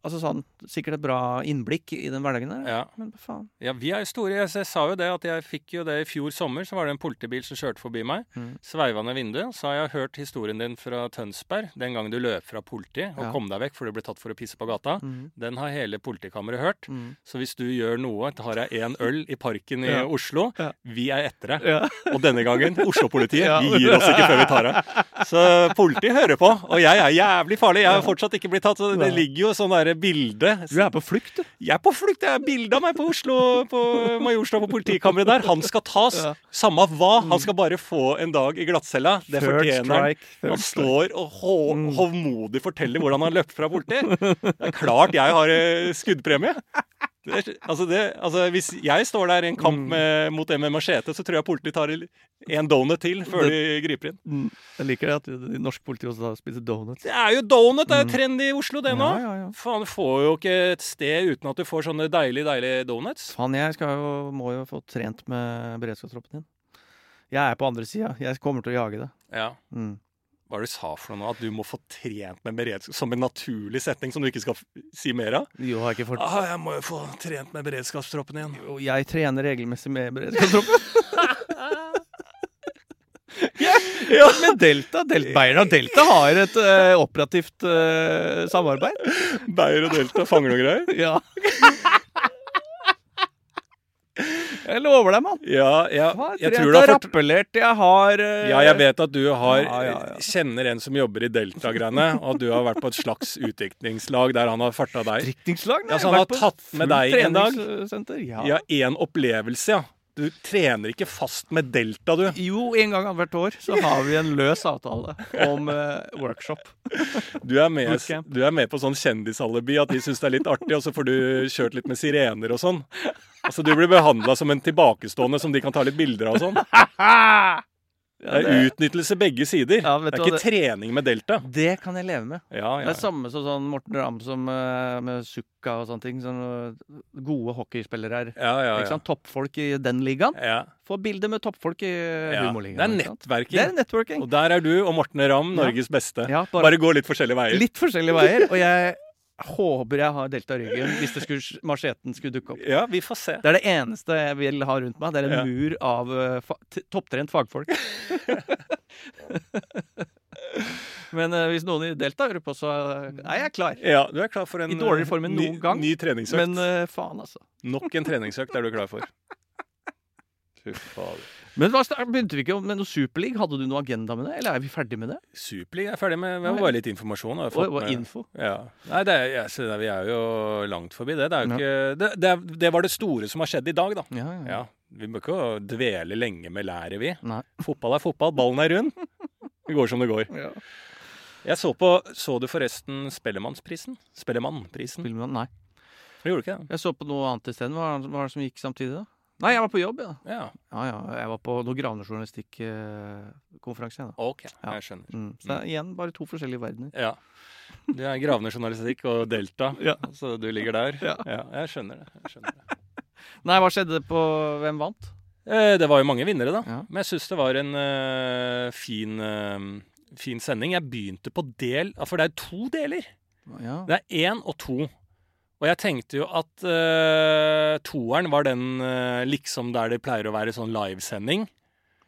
Speaker 2: Altså sånn, Sikkert et bra innblikk i den hverdagen der.
Speaker 1: Ja.
Speaker 2: Men hva faen.
Speaker 1: Ja, vi er jo store. Jeg, jeg sa jo det at jeg fikk jo det i fjor sommer. Så var det en politibil som kjørte forbi meg.
Speaker 2: Mm.
Speaker 1: Sveiva ned vinduet. Så har jeg hørt historien din fra Tønsberg. Den gangen du løp fra politiet og
Speaker 2: Ja.
Speaker 1: kom deg vekk fordi du ble tatt for å pisse på gata.
Speaker 2: Mm.
Speaker 1: Den har hele politikammeret hørt.
Speaker 2: Mm.
Speaker 1: Så hvis du gjør noe, da har jeg én øl i parken i
Speaker 2: Ja.
Speaker 1: Oslo.
Speaker 2: Ja.
Speaker 1: Vi er etter deg.
Speaker 2: Ja.
Speaker 1: Og denne gangen Oslo-politiet.
Speaker 2: [laughs] Ja.
Speaker 1: Vi gir oss ikke før vi tar av. Så politiet hører på. Og jeg er jævlig farlig. Jeg har fortsatt ikke blitt tatt. Så det
Speaker 2: Nei.
Speaker 1: ligger jo sånn derre bilde
Speaker 2: Du er på flukt, du.
Speaker 1: jeg er på flukt. Det er bilde av meg på Oslo på Majorstua på politikammeret der. Han skal tas.
Speaker 2: Ja. Mm.
Speaker 1: Samme av hva. Han skal bare få en dag i glattcella. Det
Speaker 2: Third
Speaker 1: fortjener han.
Speaker 2: strike, Mm. third
Speaker 1: Han står og hå hovmodig forteller hvordan han har løpt fra politiet. Det er klart jeg har eh, skuddpremie. Det, er- altså det, altså hvis jeg står der i en kamp
Speaker 2: Mm.
Speaker 1: med, mot en med machete, så tror jeg politiet tar en donut til før de griper inn.
Speaker 2: Mm. Jeg liker det at de- de norske politi også da spiser donuts.
Speaker 1: Det er jo donut! Det er jo trendy i Oslo, det nå.
Speaker 2: Mm. Ja, ja, ja.
Speaker 1: Faen, du får jo ikke et sted uten at du får sånne deilige, deilige donuts.
Speaker 2: Faen, jeg skal jo, må jo få trent med beredskapstroppen din. Jeg er på andre sida. Jeg kommer til å jage det.
Speaker 1: Ja.
Speaker 2: Mm.
Speaker 1: Hva er det du sa for noe nå? At du må få trent med beredskap som en naturlig setning som du ikke skal f si mer av?
Speaker 2: Jo, har jeg ikke fått
Speaker 1: Ah, jeg må jo få trent med beredskapstroppen igjen.
Speaker 2: Jo, jeg trener regelmessig med beredskapstroppen. Ah.
Speaker 1: Ja.
Speaker 2: [laughs] Men Delta, Del- Bayern og Delta har et eh, operativt eh, samarbeid.
Speaker 1: Beyer og Delta fanger noe greier?
Speaker 2: [laughs] Ja. Jeg lover deg, mann.
Speaker 1: Ja, ja,
Speaker 2: Hva,
Speaker 1: jeg
Speaker 2: trent
Speaker 1: tror det
Speaker 2: og
Speaker 1: har fort...
Speaker 2: rappellert. Jeg har eh,
Speaker 1: Ja, jeg vet at du har,
Speaker 2: Ah, Ja, ja, ja.
Speaker 1: kjenner en som jobber i Delta-greiene, og at du har vært på et slags utviklingslag der han har farta deg. Ja,
Speaker 2: drikningslag.
Speaker 1: så Altså, han har tatt med deg en dag?
Speaker 2: Ja.
Speaker 1: Ja, én opplevelse, ja. Du trener ikke fast med Delta, du.
Speaker 2: Jo, en gang annethvert år så har vi en løs avtale om eh, workshop.
Speaker 1: Du er, med,
Speaker 2: Bootcamp.
Speaker 1: du er med på sånn kjendisalibi, at de syns det er litt artig, og så får du kjørt litt med sirener og sånn. Altså, Du blir behandla som en tilbakestående som de kan ta litt bilder av og sånn.
Speaker 2: Ja,
Speaker 1: Det er utnyttelse begge sider.
Speaker 2: Ja, vet
Speaker 1: det er
Speaker 2: du hva
Speaker 1: ikke trening med delta.
Speaker 2: det kan jeg leve med.
Speaker 1: Ja,
Speaker 2: Det
Speaker 1: ja.
Speaker 2: er samme som sånn Morten Ramm som eh, med Sukka og sånne ting. Sånn, eh, gode hockeyspillere her.
Speaker 1: ja, ja,
Speaker 2: Ikke
Speaker 1: ja.
Speaker 2: sant? Toppfolk i den ligaen.
Speaker 1: ja,
Speaker 2: Få bilder med toppfolk i
Speaker 1: ja.
Speaker 2: eh,
Speaker 1: Det er
Speaker 2: humorligaen. ikke sant? Det er
Speaker 1: nettverking.
Speaker 2: networking.
Speaker 1: Og der er du og Morten Ramm Norges beste.
Speaker 2: Ja, bare
Speaker 1: Bare gå litt forskjellige veier.
Speaker 2: [laughs] litt forskjellige veier. Og jeg håper jeg har delta i ryggen hvis det skulle, macheten skulle dukke opp.
Speaker 1: Ja, vi får se.
Speaker 2: Det er det eneste jeg vil ha rundt meg. Det er en
Speaker 1: Ja.
Speaker 2: mur av eh, fa t- topptrent
Speaker 1: [laughs]
Speaker 2: fagfolk. Men eh, hvis noen i Delta hører på, så eh, er jeg klar.
Speaker 1: Ja, du er klar for en
Speaker 2: I dårligere form enn
Speaker 1: eh, ny,
Speaker 2: noen gang,
Speaker 1: ny treningsøkt.
Speaker 2: Men eh, faen, altså.
Speaker 1: Nok en treningsøkt er du klar
Speaker 2: [laughs]
Speaker 1: for. Fy fader.
Speaker 2: Men hva, snak- Begynte vi ikke med noe Superleague? Hadde du noe agenda med det? Eller er vi ferdig med det?
Speaker 1: Superliga er ferdig med det var bare litt informasjon. har jeg
Speaker 2: Og,
Speaker 1: fått
Speaker 2: og
Speaker 1: med.
Speaker 2: info?
Speaker 1: Ja. Nei, det er, jeg ser det, vi er jo langt forbi det. Det, er jo
Speaker 2: Ja.
Speaker 1: ikke, det, det, er- det var det store som har skjedd i dag, da.
Speaker 2: Ja,
Speaker 1: Ja, Vi bør ikke dvele lenge med læret, vi.
Speaker 2: Nei.
Speaker 1: Fotball er fotball, ballen er rund. Det går som det går.
Speaker 2: ja.
Speaker 1: Jeg så på Så du forresten Spellemannprisen? Spellemannprisen?
Speaker 2: Filmer man? Nei.
Speaker 1: Du gjorde ikke det?
Speaker 2: Jeg så på noe annet isteden. Hva hva var det som gikk samtidig, da? Nei, jeg var på jobb, ja.
Speaker 1: Ja.
Speaker 2: Ja, ja. Jeg var på noe gravnejournalistikkkonferanse. da.
Speaker 1: OK,
Speaker 2: Ja.
Speaker 1: jeg skjønner.
Speaker 2: Mm. Så det er igjen bare to forskjellige verdener.
Speaker 1: Ja. Du er gravende journalistikk og Delta,
Speaker 2: Ja.
Speaker 1: så du ligger der.
Speaker 2: Ja.
Speaker 1: jeg skjønner det. Jeg skjønner det.
Speaker 2: Nei, hva skjedde på Hvem vant?
Speaker 1: Eh, Det var jo mange vinnere, da.
Speaker 2: Ja.
Speaker 1: Men jeg syns det var en eh, fin, eh, fin sending. Jeg begynte på del For det er jo to deler.
Speaker 2: Ja.
Speaker 1: Det er én og to. Og jeg tenkte jo at eh, toeren var den eh, liksom der det pleier å være sånn livesending.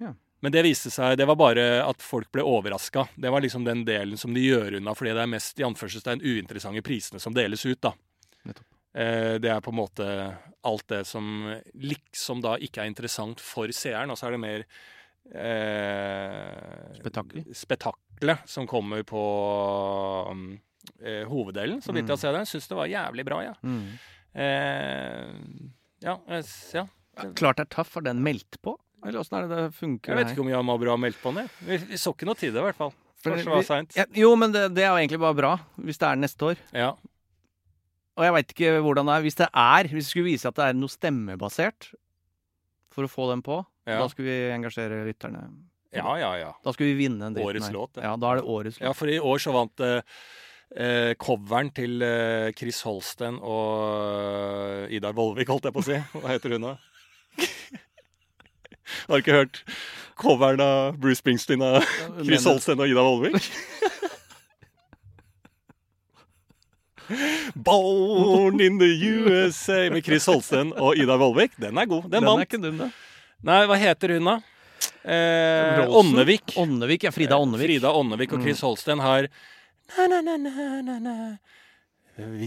Speaker 2: Ja.
Speaker 1: Men det viste seg, det var bare at folk ble overraska. Det var liksom den delen som de gjør unna, fordi det er mest i anførselstegn uinteressante prisene som deles ut, da.
Speaker 2: Nettopp.
Speaker 1: Eh, det er på en måte alt det som liksom da ikke er interessant for seeren, og så er det mer eh,
Speaker 2: Spetakkel.
Speaker 1: spetakkelet som kommer på mm, eh, hoveddelen, så vidt jeg har sett det. Syns det var jævlig bra, jeg.
Speaker 2: Mm.
Speaker 1: Ja. Eh, ja, jeg s- ja.
Speaker 2: Klart det er tøff. Har den meldt på? Eller åssen er det det funker?
Speaker 1: Jeg vet ikke om Jan Mabro har meldt på den. jeg. Vi, vi så ikke noe til det, i hvert fall.
Speaker 2: For
Speaker 1: Kanskje det
Speaker 2: vi-
Speaker 1: var seint.
Speaker 2: Ja, jo, men det, det er jo egentlig bare bra, hvis det er neste år.
Speaker 1: Ja.
Speaker 2: Og jeg veit ikke hvordan det er. Hvis det er, hvis det skulle vise at det er noe stemmebasert for å få den på,
Speaker 1: Ja.
Speaker 2: da skulle vi engasjere lytterne.
Speaker 1: ja, ja, ja.
Speaker 2: Da skulle vi vinne den dritten
Speaker 1: Årets
Speaker 2: her.
Speaker 1: låt, det.
Speaker 2: Ja, da er det årets låt.
Speaker 1: Ja, for i år så vant eh, eh, coveren til eh, Chris Holsten og eh, Idar Vollvik, holdt jeg på å si. Hva heter
Speaker 2: [laughs]
Speaker 1: hun da? Har ikke hørt coveren av Bruce Springsteen av
Speaker 2: Ja,
Speaker 1: Chris
Speaker 2: mener-
Speaker 1: Holsten og Idar Vollvik? Born in the USA med Chris Holsten og Ida Vollvik. Den er god. Den,
Speaker 2: Den er
Speaker 1: vant.
Speaker 2: ikke dum, det.
Speaker 1: Nei, hva heter hun, da? Eh,
Speaker 2: Rosen?
Speaker 1: Ånnevik.
Speaker 2: Åndevik, ja. Frida Åndevik.
Speaker 1: Frida Ånnevik og Chris Holsten har na, na, na, na, na, na.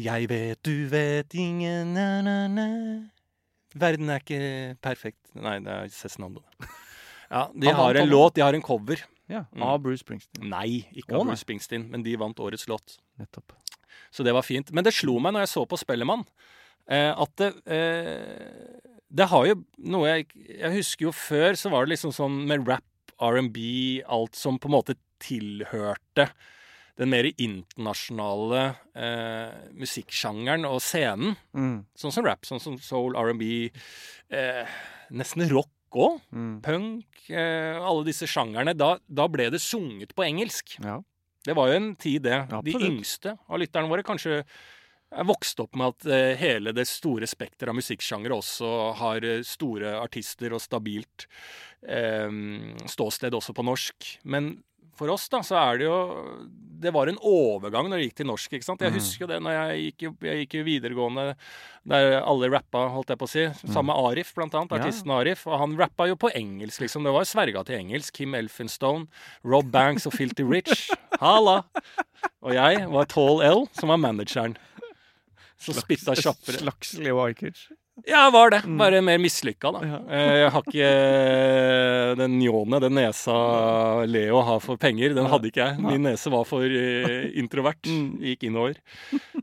Speaker 1: Jeg vet, du vet, ingen na, na, na. Verden er ikke perfekt. Nei, det er Cezinando. Ja, de
Speaker 2: Han vant
Speaker 1: har en
Speaker 2: han.
Speaker 1: låt, de har en cover.
Speaker 2: Ja,
Speaker 1: Mm.
Speaker 2: Av Bruce Springsteen.
Speaker 1: Nei, ikke
Speaker 2: Å,
Speaker 1: av
Speaker 2: nei.
Speaker 1: Bruce Springsteen, men de vant årets låt.
Speaker 2: Nettopp.
Speaker 1: Så det var fint. Men det slo meg når jeg så på Spellemann, eh, at det eh, Det har jo noe jeg Jeg husker jo før så var det liksom sånn med rap, R&B, alt som på en måte tilhørte den mer internasjonale eh, musikksjangeren og scenen.
Speaker 2: Mm.
Speaker 1: Sånn som rap, sånn som soul, R&B, eh, nesten rock òg.
Speaker 2: Mm.
Speaker 1: Punk, eh, alle disse sjangerne. Da, da ble det sunget på engelsk.
Speaker 2: Ja.
Speaker 1: Det var jo en tid, det. De
Speaker 2: Absolutt.
Speaker 1: yngste av lytterne våre kanskje er vokst opp med at eh, hele det store spekteret av musikksjangere også har eh, store artister og stabilt eh, ståsted også på norsk. Men for oss, da, så er det jo Det var en overgang når det gikk til norsk, ikke sant. Jeg
Speaker 2: Mm.
Speaker 1: husker jo det når jeg gikk, jo- jeg gikk jo videregående der alle rappa, holdt jeg på å si. Sammen med
Speaker 2: Mm.
Speaker 1: Arif, blant annet.
Speaker 2: Ja.
Speaker 1: Artisten Arif. Og han rappa jo på engelsk, liksom. Det var jo sverga til engelsk. Kim Elfenstone, Rob Banks og Filty Rich. Halla! Og jeg var Tall L, som var manageren. Som spytta kjappere.
Speaker 2: Slagsli Wajkic.
Speaker 1: Ja, var det. Bare mer mislykka, da.
Speaker 2: Mm. Ja.
Speaker 1: Eh, Jeg har ikke eh, den njåne, den nesa Leo har for penger. Den hadde ikke jeg. Min nese var for eh, introvert.
Speaker 2: Mm.
Speaker 1: Gikk innover.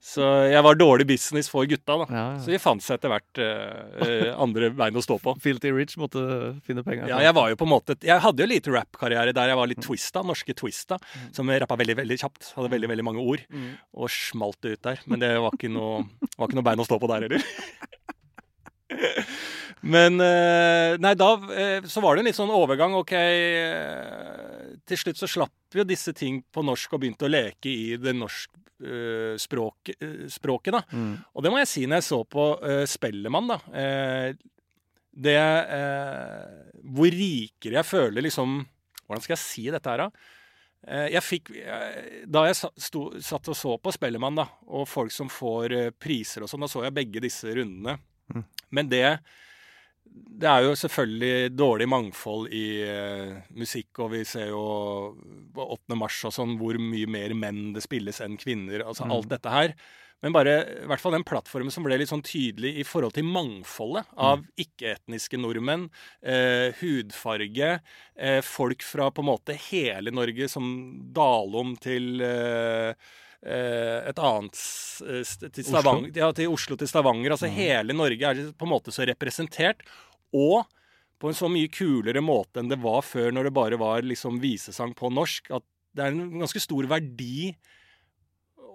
Speaker 1: Så jeg var dårlig business for gutta, da.
Speaker 2: Ja, ja.
Speaker 1: Så de fant seg etter hvert eh, eh, andre bein å stå på.
Speaker 2: Filty Rich måtte finne penger.
Speaker 1: Ja, jeg var jo på en måte Jeg hadde jo lite rap-karriere der jeg var litt twista, norske twista, som rappa veldig, veldig kjapt. Hadde veldig, veldig mange ord.
Speaker 2: [laughs] Mm.
Speaker 1: Og smalt det ut der. Men det var ikke noe, var ikke noe bein å stå på der heller. [laughs] Men eh, Nei, da eh, så var det en litt sånn overgang. OK eh, Til slutt så slapp jo disse ting på norsk og begynte å leke i det norsk eh, språk, eh, språket, da.
Speaker 2: Mm.
Speaker 1: Og det må jeg si når jeg så på eh, Spellemann, da. eh, det eh, Hvor rikere jeg føler liksom Hvordan skal jeg si dette her, da? Eh, jeg fikk eh, Da jeg sa- sto, satt og så på Spellemann, da, og folk som får eh, priser og sånn, da så jeg begge disse rundene.
Speaker 2: Mm.
Speaker 1: Men det det er jo selvfølgelig dårlig mangfold i eh, musikk, og vi ser jo på 8. mars og sånn hvor mye mer menn det spilles enn kvinner. Altså alt dette her. Men bare i hvert fall den plattformen som ble litt sånn tydelig i forhold til mangfoldet av ikke-etniske nordmenn, eh, hudfarge, eh, folk fra på en måte hele Norge, som Dalom til eh, eh, et annet s- eh, st- til
Speaker 2: Oslo?
Speaker 1: Stavanger, ja, til Oslo til Stavanger. Altså hele Norge er på en måte så representert. Og på en så mye kulere måte enn det var før, når det bare var liksom visesang på norsk, at det er en ganske stor verdi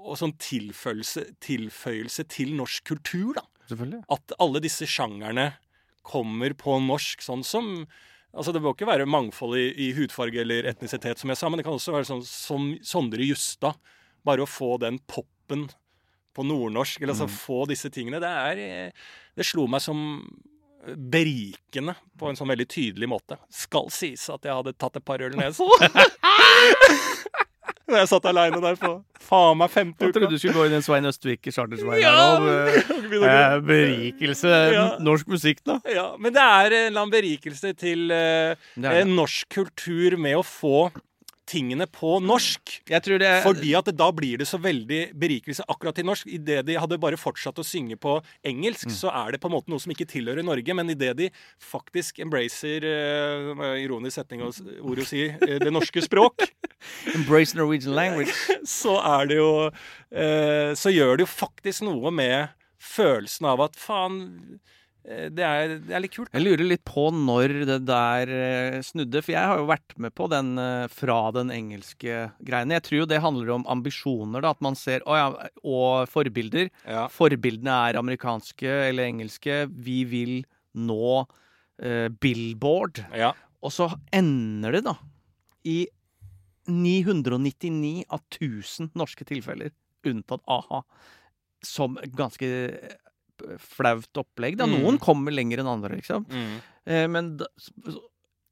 Speaker 1: og sånn tilføyelse, tilføyelse til norsk kultur, da.
Speaker 2: Selvfølgelig.
Speaker 1: At alle disse sjangerne kommer på norsk, sånn som Altså, det må ikke være mangfold i, i hudfarge eller etnisitet, som jeg sa, men det kan også være sånn som Sondre Justad. Bare å få den poppen på nordnorsk, eller
Speaker 2: Mm.
Speaker 1: altså få disse tingene, det er eh, Det slo meg som berikende på en sånn veldig tydelig måte. Skal sies at jeg hadde tatt et par øl
Speaker 2: [laughs]
Speaker 1: ned sånn. Når jeg satt aleine der på faen meg femte
Speaker 2: Jeg
Speaker 1: uka.
Speaker 2: trodde du skulle gå inn i en Svein Østvik i Chartersveien.
Speaker 1: Ja,
Speaker 2: her nå,
Speaker 1: men-
Speaker 2: eh, eh, berikelse.
Speaker 1: Ja.
Speaker 2: Norsk musikk, da.
Speaker 1: Ja, men det er en eller annen berikelse til eh,
Speaker 2: Det er
Speaker 1: eh,
Speaker 2: det.
Speaker 1: norsk kultur med å få tingene på norsk.
Speaker 2: Jeg tror det
Speaker 1: Fordi at da blir det så veldig berikelse akkurat til norsk. Idet de hadde bare fortsatt å synge på
Speaker 2: Mm.
Speaker 1: engelsk, så er det på en måte noe som ikke tilhører Norge. Men idet de faktisk embracer eh, Ironisk setning og s- ord å si eh, det norske språk,
Speaker 2: [laughs] Embrace Norwegian language.
Speaker 1: så er det jo eh, Så gjør det jo faktisk noe med følelsen av at faen, eh, det er, det er litt kult.
Speaker 2: Jeg lurer litt på når det der eh, snudde, for jeg har jo vært med på den eh, fra den engelske greiene. Jeg tror jo det handler om ambisjoner, da, at man ser å ja, og forbilder.
Speaker 1: Ja.
Speaker 2: Forbildene er amerikanske eller engelske. Vi vil nå eh, Billboard.
Speaker 1: ja.
Speaker 2: Og så ender det, da, i 999 av 1000 norske tilfeller, unntatt a-ha, som ganske eh, flaut opplegg. Da.
Speaker 1: Mm.
Speaker 2: Noen kommer lenger enn andre, liksom.
Speaker 1: Mm.
Speaker 2: Eh, Men, da- s- s-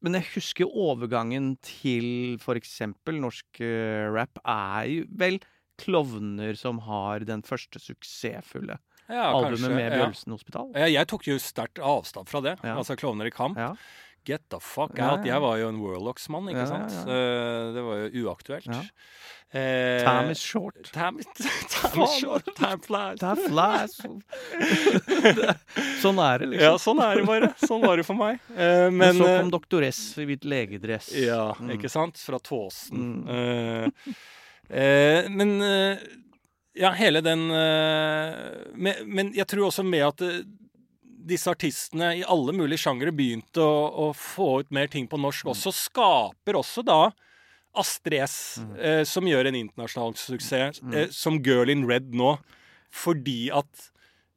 Speaker 2: men jeg husker jo overgangen til for eksempel norsk eh, rap er jo vel klovner som har den første suksessfulle
Speaker 1: Ja,
Speaker 2: albumet
Speaker 1: kanskje,
Speaker 2: med
Speaker 1: ja.
Speaker 2: Bjølsen Hospital.
Speaker 1: Ja, jeg tok jo sterkt avstand fra det.
Speaker 2: Ja.
Speaker 1: Altså Klovner i kamp.
Speaker 2: Ja.
Speaker 1: Get the fuck
Speaker 2: Ja,
Speaker 1: out.
Speaker 2: ja.
Speaker 1: Jeg var jo en Warlocks-mann, ikke
Speaker 2: Ja, ja,
Speaker 1: sant.
Speaker 2: ja.
Speaker 1: Eh, det var jo uaktuelt.
Speaker 2: Ja.
Speaker 1: Eh,
Speaker 2: Time is short.
Speaker 1: [laughs] Time is, time is short, time flies.
Speaker 2: Det er
Speaker 1: [laughs]
Speaker 2: flash. [laughs] Det- sånn er det,
Speaker 1: Ja,
Speaker 2: liksom.
Speaker 1: sånn er det bare. Sånn var det for meg. Eh, men
Speaker 2: Men så
Speaker 1: eh,
Speaker 2: kom doktor S i hvit legedress.
Speaker 1: Ja,
Speaker 2: Mm.
Speaker 1: ikke sant? Fra Tåsen.
Speaker 2: Mm.
Speaker 1: Eh, eh, men eh, Ja, hele den eh, men, men jeg tror også med at eh, disse artistene i alle mulige sjangere begynte å, å få ut mer ting på norsk også,
Speaker 2: Mm.
Speaker 1: skaper også da Astrid S, eh, som gjør en internasjonal suksess,
Speaker 2: Mm.
Speaker 1: eh, som Girl in Red nå, fordi at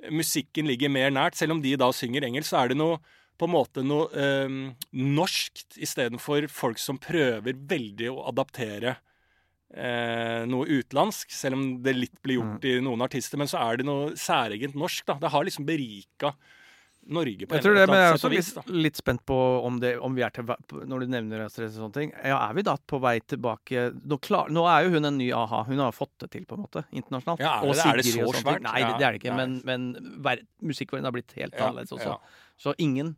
Speaker 1: musikken ligger mer nært. Selv om de da synger engelsk, så er det noe på en måte noe eh, norskt istedenfor folk som prøver veldig å adaptere eh, noe utenlandsk, selv om det litt blir gjort
Speaker 2: Mm.
Speaker 1: i noen artister. Men så er det noe særegent norsk, da. Det har liksom berika Norge på en
Speaker 2: Jeg tror det,
Speaker 1: eller
Speaker 2: men jeg
Speaker 1: annen
Speaker 2: er også
Speaker 1: sett og vis.
Speaker 2: litt,
Speaker 1: da.
Speaker 2: litt spent på om, det, om vi er til, vei- Når du nevner stress og sånne ting, ja, er vi da på vei tilbake nå, klar, nå er jo hun en ny a-ha. Hun har fått det til, på en måte, internasjonalt.
Speaker 1: Ja, er
Speaker 2: og
Speaker 1: det- er det
Speaker 2: Sigrid og
Speaker 1: så
Speaker 2: sånne ting.
Speaker 1: svært?
Speaker 2: Nei, det, det er det ikke.
Speaker 1: Ja, nei.
Speaker 2: Men, men ver, musikkverdenen har blitt helt
Speaker 1: Ja,
Speaker 2: annerledes
Speaker 1: ja.
Speaker 2: også. Så ingen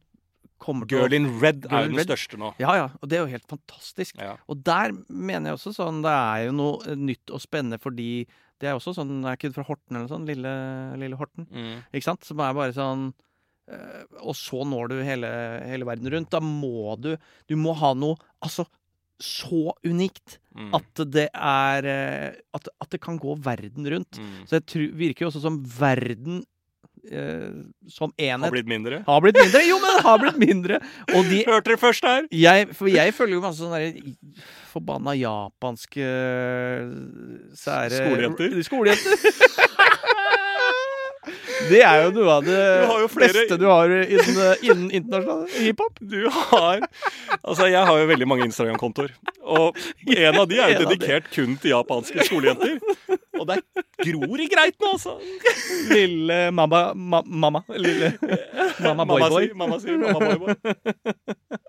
Speaker 2: kommer til
Speaker 1: Girl in Red
Speaker 2: sånn Girl
Speaker 1: er
Speaker 2: in
Speaker 1: jo den
Speaker 2: Red.
Speaker 1: største nå.
Speaker 2: Ja, ja. Og det er jo helt fantastisk.
Speaker 1: Ja.
Speaker 2: Og der mener jeg også sånn Det er jo noe nytt og spennende fordi det er også sånn Er ikke du fra Horten eller noe sånt? Lille, lille Horten?
Speaker 1: Mm.
Speaker 2: Ikke sant? Som er bare sånn eh, Og så når du hele, hele verden rundt. Da må du Du må ha noe altså så unikt
Speaker 1: Mm.
Speaker 2: at det er eh, at, at det kan gå verden rundt.
Speaker 1: Mm.
Speaker 2: Så det tru- virker jo også som verden eh, som
Speaker 1: Har
Speaker 2: enhet
Speaker 1: blitt mindre.
Speaker 2: har blitt mindre. Jo, men det har blitt mindre! Og de
Speaker 1: Hørte dere først her?
Speaker 2: jeg, for jeg følger jo masse sånne der forbanna japanske øh, sære
Speaker 1: Skolejenter.
Speaker 2: Skolejenter. [laughs] Det er jo noe av det
Speaker 1: Du har jo flere-
Speaker 2: beste du har eh, innen, innen internasjonal hiphop.
Speaker 1: Du har Altså, jeg har jo veldig mange Instagram-kontoer. Og en av de er jo
Speaker 2: En av de.
Speaker 1: dedikert kun til japanske skolejenter. Og det gror i greit nå, altså.
Speaker 2: Lille mamma, ma, mamma. Lille mamma boy-boy.
Speaker 1: sier, mamma sier, mamma boy-boy.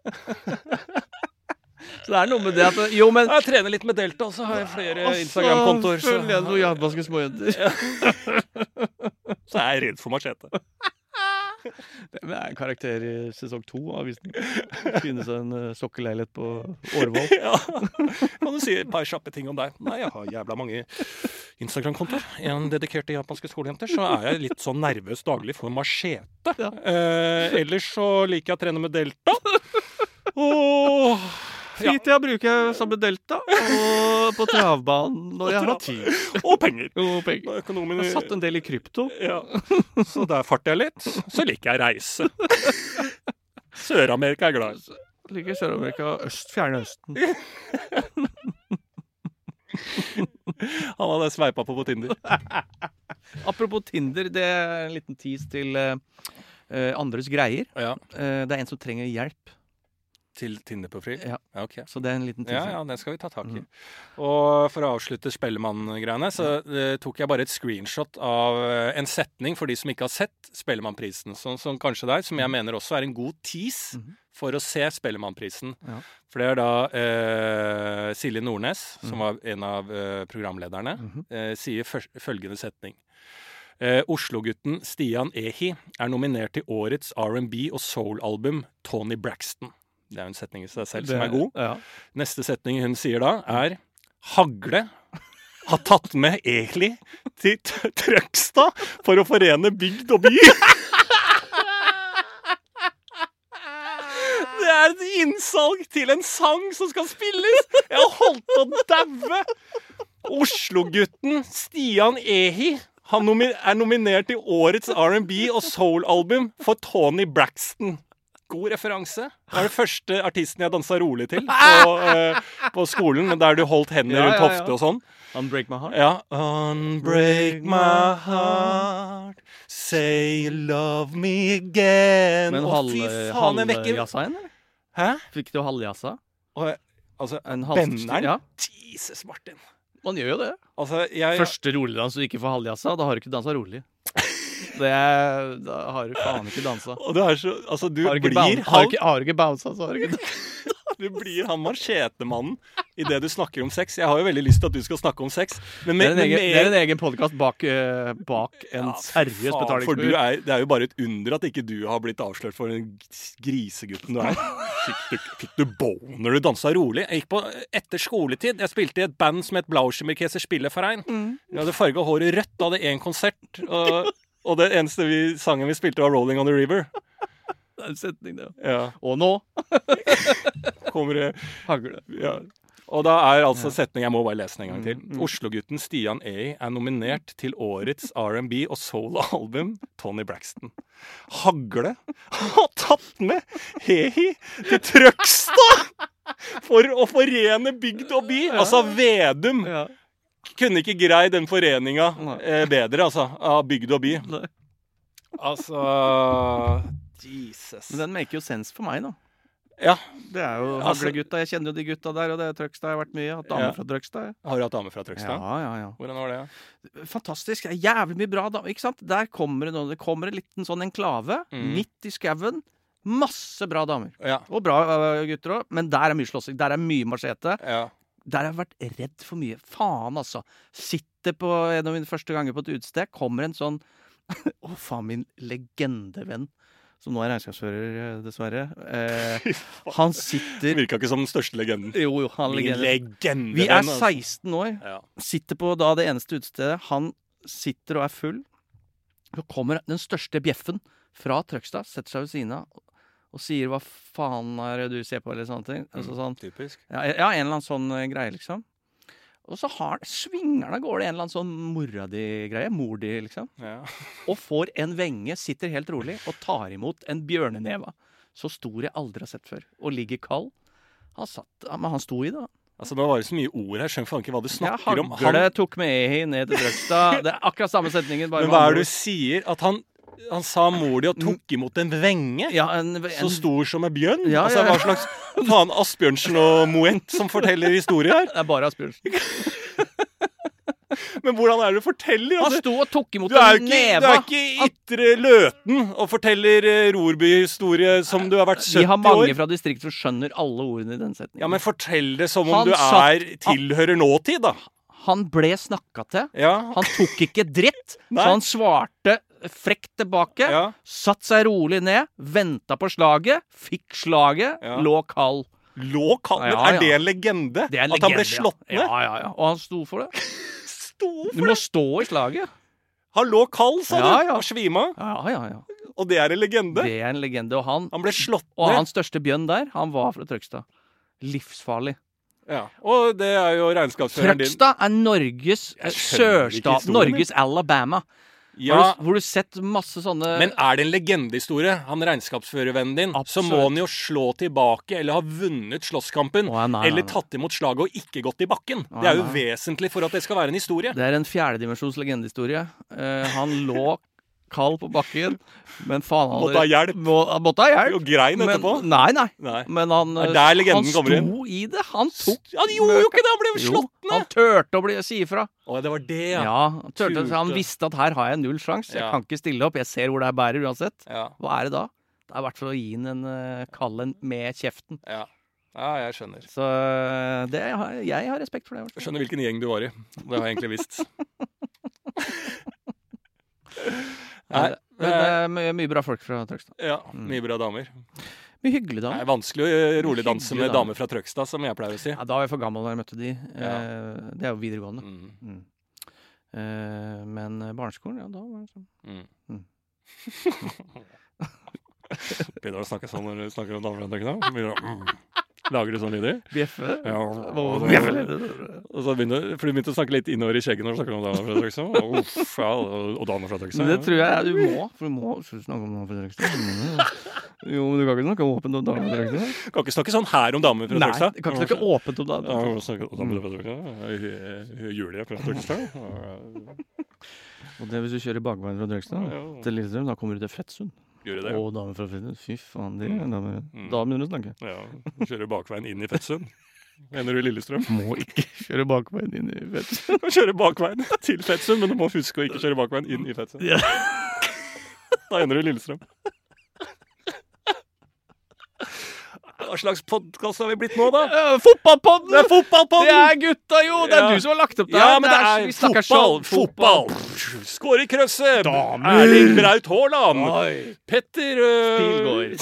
Speaker 2: Så det er noe med det at Jo, men
Speaker 1: Jeg trener litt med Delta, så har jeg flere
Speaker 2: Altså,
Speaker 1: Eh, Instagram-kontoer. Så,
Speaker 2: følger jeg noen japanske småjenter.
Speaker 1: så er jeg redd for machete.
Speaker 2: Det er en karakter i sesong to av avisen. Finne seg en øh, sokkelleilighet på Årvoll.
Speaker 1: Ja. Kan du si et par kjappe ting om deg? Nei, jeg har jævla mange Instagram-kontoer. En dedikert til japanske skolejenter. Så er jeg litt sånn nervøs daglig for machete.
Speaker 2: Ja.
Speaker 1: Eh, ellers så liker jeg å trene med Delta. Og ja,
Speaker 2: Fritida bruker jeg sammen med Delta og på travbanen når jeg har tid.
Speaker 1: og penger.
Speaker 2: Og penger.
Speaker 1: Økonomien
Speaker 2: Jeg har satt en del i krypto.
Speaker 1: ja. Så der farter jeg litt. Så liker jeg reise. [laughs] Sør-Amerika er jeg glad i.
Speaker 2: Ligger i Sør-Amerika, øst, fjerne østen.
Speaker 1: Han hadde sveipa på på Tinder.
Speaker 2: Apropos Tinder, det er en liten tease til eh, eh, andres greier.
Speaker 1: Ja,
Speaker 2: Eh, det er en som trenger hjelp,
Speaker 1: Til Tinder-profil?
Speaker 2: Ja. Mm.
Speaker 1: ok.
Speaker 2: så det er en liten
Speaker 1: Ja,
Speaker 2: tease.
Speaker 1: ja, den skal vi ta tak i. Og for å avslutte Spellemann-greiene, så eh, tok jeg bare et screenshot av eh, en setning for de som ikke har sett Spellemannprisen, sånn som kanskje deg, som jeg
Speaker 2: Mm.
Speaker 1: mener også er en god tease
Speaker 2: Mhm.
Speaker 1: for å se Spellemannprisen.
Speaker 2: Ja.
Speaker 1: For det er da eh, Silje Nordnes,
Speaker 2: Mm.
Speaker 1: som var en av eh, programlederne,
Speaker 2: Mhm.
Speaker 1: eh, sier først- følgende setning. Eh, Oslo-gutten Stian Ehi er nominert til årets R&B og soul-album Tony Braxton. Det er jo en setning i seg selv som er god.
Speaker 2: Ja.
Speaker 1: Neste setning hun sier da, er Hagle har tatt med Eli til T- Trøgstad for å forene bygd og by. Det er et innsalg til en sang som skal spilles! Jeg har holdt på å daue! Oslo-gutten Stian Ehi han nomi er nominert til årets R&B og soul-album for Tony Braxton. God referanse. Det var den første artisten jeg dansa rolig til på, eh, på skolen. Men der du holdt hendene
Speaker 2: Ja,
Speaker 1: rundt
Speaker 2: ja, ja.
Speaker 1: hofte og sånn.
Speaker 2: Unbreak my heart.
Speaker 1: Ja. Unbreak my heart, say you love me again.
Speaker 2: Men
Speaker 1: Å, fy faen, jeg vekker
Speaker 2: halvjassa igjen, eller?
Speaker 1: Hæ?
Speaker 2: Fikk du halvjassa?
Speaker 1: Og, jeg- altså,
Speaker 2: En halvst-
Speaker 1: Benneren?
Speaker 2: Ja,
Speaker 1: Jesus, Martin.
Speaker 2: man gjør jo det.
Speaker 1: Altså, jeg
Speaker 2: Første roligdans du ikke får halvjassa, da har du ikke dansa rolig. Det er, da har du faen ikke dansa.
Speaker 1: og du er så, altså, du
Speaker 2: Har du ikke,
Speaker 1: blir
Speaker 2: boun- har du
Speaker 1: halv
Speaker 2: ikke, har du ikke bounsa, så har du ikke
Speaker 1: Du blir han machetemannen idet du snakker om sex. Jeg har jo veldig lyst til at du skal snakke om sex, men
Speaker 2: Det er
Speaker 1: med,
Speaker 2: en
Speaker 1: men
Speaker 2: egen,
Speaker 1: med-
Speaker 2: det er en egen podkast bak, eh, bak en
Speaker 1: Ja, fy
Speaker 2: seriøs
Speaker 1: faen, For du
Speaker 2: betalingsmur.
Speaker 1: er, det er jo bare et under at ikke du har blitt avslørt for den gris- grisegutten
Speaker 2: [laughs]
Speaker 1: du er. Fikk du, fikk du boner du dansa rolig? Jeg gikk på etter skoletid. Jeg spilte i et band som het Blauschimmerkeser Spilleverein.
Speaker 2: Mm.
Speaker 1: Jeg hadde farga håret rødt, da hadde én konsert. Og, og det eneste vi, sangen vi spilte, var 'Rolling on the River'.
Speaker 2: Det er en setning, det.
Speaker 1: Ja,
Speaker 2: Og nå
Speaker 1: kommer det
Speaker 2: hagler det.
Speaker 1: ja. Og da er altså setningen Jeg må bare lese den en gang til.
Speaker 2: Mm,
Speaker 1: Oslogutten Stian A er nominert til årets R&B og soul-album Tony Braxton. Hagle har tatt med Hehi til Trøgstad for å forene bygd og by. Altså Vedum
Speaker 2: Ja.
Speaker 1: kunne ikke greid den foreninga
Speaker 2: Nei.
Speaker 1: eh, bedre, altså. Av bygd og by.
Speaker 2: Nei.
Speaker 1: Altså Jesus.
Speaker 2: Men den maker jo sens for meg, da.
Speaker 1: Ja.
Speaker 2: Det er jo
Speaker 1: Altså-
Speaker 2: Haglegutta. Jeg kjenner jo de gutta der, og det er Trøgstad jeg har vært mye. Hatt dame
Speaker 1: Ja.
Speaker 2: fra Trøgstad. jeg.
Speaker 1: Har du hatt dame fra
Speaker 2: Ja,
Speaker 1: Trøgstad?
Speaker 2: ja, ja.
Speaker 1: Hvordan var det?
Speaker 2: Fantastisk. Det er Jævlig mye bra, da. Ikke sant? Der kommer det noe. Det kommer en liten sånn enklave
Speaker 1: Mm.
Speaker 2: midt i skauen. Masse bra damer.
Speaker 1: Ja.
Speaker 2: Og bra øh, gutter òg, men der er mye slåssing. Der er mye machete.
Speaker 1: ja.
Speaker 2: Der har jeg vært redd for mye. Faen, altså. Sitter på en av mine første ganger på et utested, kommer en sånn [laughs] Å, faen, min legendevenn, som nå er regnskapsfører, eh, dessverre. Eh, han sitter
Speaker 1: Virka ikke som den største legenden.
Speaker 2: Jo, jo, han er legende.
Speaker 1: legende. altså.
Speaker 2: Vi er 16 år,
Speaker 1: Ja.
Speaker 2: sitter på da det eneste utestedet. Han sitter og er full. Så kommer den største bjeffen fra Trøgstad, setter seg ved siden av og sier 'hva faen er det du ser på', eller sånne ting. Altså sånn
Speaker 1: Typisk.
Speaker 2: Ja, ja, en eller annen sånn eh, greie, liksom. Og så har, svinger han av gårde en eller annen sånn mora di-greie. Mor di, liksom.
Speaker 1: Ja.
Speaker 2: Og får en venge, sitter helt rolig og tar imot en bjørneneva. Så stor jeg aldri har sett før. Og ligger kald. Han satt, ja, men han sto i det. da.
Speaker 1: Altså, Nå var det så mye ord her. Skjønner faen ikke hva du
Speaker 2: Ja,
Speaker 1: snakker om. Han,
Speaker 2: Hagle tok med Ehi ned
Speaker 1: [laughs]
Speaker 2: til Drøgstad. Det er akkurat samme setningen. Bare
Speaker 1: men
Speaker 2: med
Speaker 1: hva er
Speaker 2: andre
Speaker 1: det
Speaker 2: ord.
Speaker 1: du sier? At han, han sa mor di og tok imot en venge?
Speaker 2: Ja, en, en,
Speaker 1: Så stor som en bjørn?
Speaker 2: Ja,
Speaker 1: altså,
Speaker 2: ja, ja.
Speaker 1: Hva slags faen Asbjørnsen og Moët som forteller historier her?
Speaker 2: Det er bare Asbjørnsen.
Speaker 1: Men hvordan er det du forteller?
Speaker 2: Han
Speaker 1: Altså,
Speaker 2: sto og tok imot
Speaker 1: du er jo
Speaker 2: en
Speaker 1: ikke, du er
Speaker 2: neva.
Speaker 1: ikke i Ytre Løten og forteller eh, Rorby-historie som du har vært
Speaker 2: Vi
Speaker 1: 70
Speaker 2: har mange
Speaker 1: år.
Speaker 2: fra distriktet som skjønner alle ordene i den setningen.
Speaker 1: Ja, men fortell det som om
Speaker 2: Han
Speaker 1: du
Speaker 2: satt-
Speaker 1: er, tilhører nåtid, da.
Speaker 2: Han ble snakka til.
Speaker 1: Ja,
Speaker 2: Han tok ikke dritt,
Speaker 1: [laughs] Nei.
Speaker 2: så han svarte frekt tilbake.
Speaker 1: ja.
Speaker 2: Satt seg rolig ned, venta på slaget, fikk slaget,
Speaker 1: Ja.
Speaker 2: lå kald.
Speaker 1: Lå kald? Men
Speaker 2: Ja, ja.
Speaker 1: Er det en legende?
Speaker 2: Det er en
Speaker 1: At han ble
Speaker 2: legende, ja.
Speaker 1: slått ned?
Speaker 2: Ja, ja, ja. Og han sto for det.
Speaker 1: Sto
Speaker 2: Du
Speaker 1: for
Speaker 2: må
Speaker 1: det!
Speaker 2: stå i slaget.
Speaker 1: Han lå kald, sa
Speaker 2: Ja,
Speaker 1: du,
Speaker 2: ja.
Speaker 1: og svima.
Speaker 2: Ja, ja, ja.
Speaker 1: Og det er en legende?
Speaker 2: Det er en legende. Og han,
Speaker 1: Han ble slått
Speaker 2: og
Speaker 1: ned.
Speaker 2: hans største bjønn der, han var fra Trøgstad. Livsfarlig.
Speaker 1: Ja. Og det er jo regnskapsføreren din.
Speaker 2: Trøgstad er Norges
Speaker 1: Jeg skjønner ikke
Speaker 2: sørstat.
Speaker 1: historien din.
Speaker 2: Norges Alabama.
Speaker 1: Ja,
Speaker 2: Har du, hvor du sett masse sånne
Speaker 1: men er det en legendehistorie? Han regnskapsførervennen din, så må
Speaker 2: Absolutt.
Speaker 1: han jo slå tilbake, eller ha vunnet slåsskampen.
Speaker 2: Å, ja, nei, nei,
Speaker 1: Eller
Speaker 2: nei.
Speaker 1: tatt imot slaget og ikke gått i bakken.
Speaker 2: Å,
Speaker 1: Det er jo
Speaker 2: nei.
Speaker 1: vesentlig for at det skal være en historie.
Speaker 2: Det er en fjerdedimensjons legendehistorie. Eh, han lå kald på bakken, men faen han
Speaker 1: Måtte ha hjelp.
Speaker 2: Må, han måtte ha hjelp.
Speaker 1: Og grein
Speaker 2: men,
Speaker 1: etterpå.
Speaker 2: nei, nei.
Speaker 1: Nei.
Speaker 2: Men han,
Speaker 1: Det er
Speaker 2: eh,
Speaker 1: der legenden
Speaker 2: han sto
Speaker 1: kommer
Speaker 2: i det. Han tok
Speaker 1: Han gjorde jo ikke det! Han ble jo
Speaker 2: Jo,
Speaker 1: slått
Speaker 2: han
Speaker 1: ned!
Speaker 2: turte å bli, si ifra.
Speaker 1: Å, det var det,
Speaker 2: Ja,
Speaker 1: ja.
Speaker 2: han, turte,
Speaker 1: Turte.
Speaker 2: han visste at her har jeg null sjanse. Jeg
Speaker 1: Ja.
Speaker 2: kan ikke stille opp. Jeg ser hvor det her bærer uansett.
Speaker 1: Ja,
Speaker 2: Hva er det da? Det er i hvert fall å gi han en eh, kall en med kjeften.
Speaker 1: ja. ja jeg skjønner.
Speaker 2: Så eh, det, har- jeg har respekt for det. i hvert fall.
Speaker 1: Jeg skjønner hvilken gjeng du var i. Det har jeg egentlig visst.
Speaker 2: [laughs]
Speaker 1: Nei,
Speaker 2: Ja, Men det er mye, mye bra folk fra Trøgstad.
Speaker 1: ja, mye bra damer.
Speaker 2: Mye hyggelig, da.
Speaker 1: Det er vanskelig å eh, roligdanse
Speaker 2: Hyggelig
Speaker 1: med
Speaker 2: damer.
Speaker 1: damer fra Trøgstad, som jeg pleier å si.
Speaker 2: Ja, da var jeg for gammel da jeg møtte de.
Speaker 1: Ja.
Speaker 2: Eh, Det er jo videregående.
Speaker 1: Mm,
Speaker 2: Mm. Eh, Men eh, barneskolen, ja, da var det sånn.
Speaker 1: mm.
Speaker 2: Mm.
Speaker 1: [laughs] Begynner du å snakke sånn når du snakker om damer fra Trøgstad? Begynner du å, mm. Lager du sånn lyder?
Speaker 2: Bjeffe?
Speaker 1: Ja.
Speaker 2: Hva-
Speaker 1: Og så begynner, for du begynte å snakke litt innover i skjegget når du snakker om damer fra Trøgstad? Uff, ja, og og damer fra
Speaker 2: Men
Speaker 1: Trøgstad.
Speaker 2: det tror jeg du må, for du må Skal du snakke om noe på Trøgstad? [laughs] Jo, men du kan ikke snakke åpent om damer på Trøgstad?
Speaker 1: ja. Kan ikke snakke sånn her om damer fra
Speaker 2: Nei,
Speaker 1: Trøgstad.
Speaker 2: du kan ikke snakke åpent om
Speaker 1: Ja,
Speaker 2: damer.
Speaker 1: hun snakker om damer fra Trøgstad. Eh, Julie fra Trøgstad.
Speaker 2: Og det er hvis du kjører bakveien fra Trøgstad
Speaker 1: Ja,
Speaker 2: til Lillestrøm, da kommer du til Fettsund.
Speaker 1: Gjorde det.
Speaker 2: Og damer fra Fettsund. Fy faen, de er damer.
Speaker 1: Mm.
Speaker 2: Da begynner du å snakke.
Speaker 1: Ja, Kjører bakveien inn i Fettsund. Mener du Lillestrøm? [laughs]
Speaker 2: Må ikke [laughs] kjøre bakveien inn i [laughs] Fettsund.
Speaker 1: Kjøre bakveien til Fettsund, men du må huske å ikke kjøre bakveien inn i Fettsund.
Speaker 2: Ja.
Speaker 1: Da ender du i Lillestrøm. Hva slags podkast har vi blitt nå, da?
Speaker 2: Eh, Fotballpodden!
Speaker 1: Det er
Speaker 2: Det
Speaker 1: fotballpodden!
Speaker 2: er gutta, jo! Det er
Speaker 1: Ja.
Speaker 2: du som har lagt opp det.
Speaker 1: Ja,
Speaker 2: her.
Speaker 1: men det er,
Speaker 2: vi snakker
Speaker 1: fotball!
Speaker 2: sånn.
Speaker 1: Fotball! Skåre Krøsse! Erling Braut Haaland!
Speaker 2: Oi.
Speaker 1: Petter øh,
Speaker 2: Pilgaard.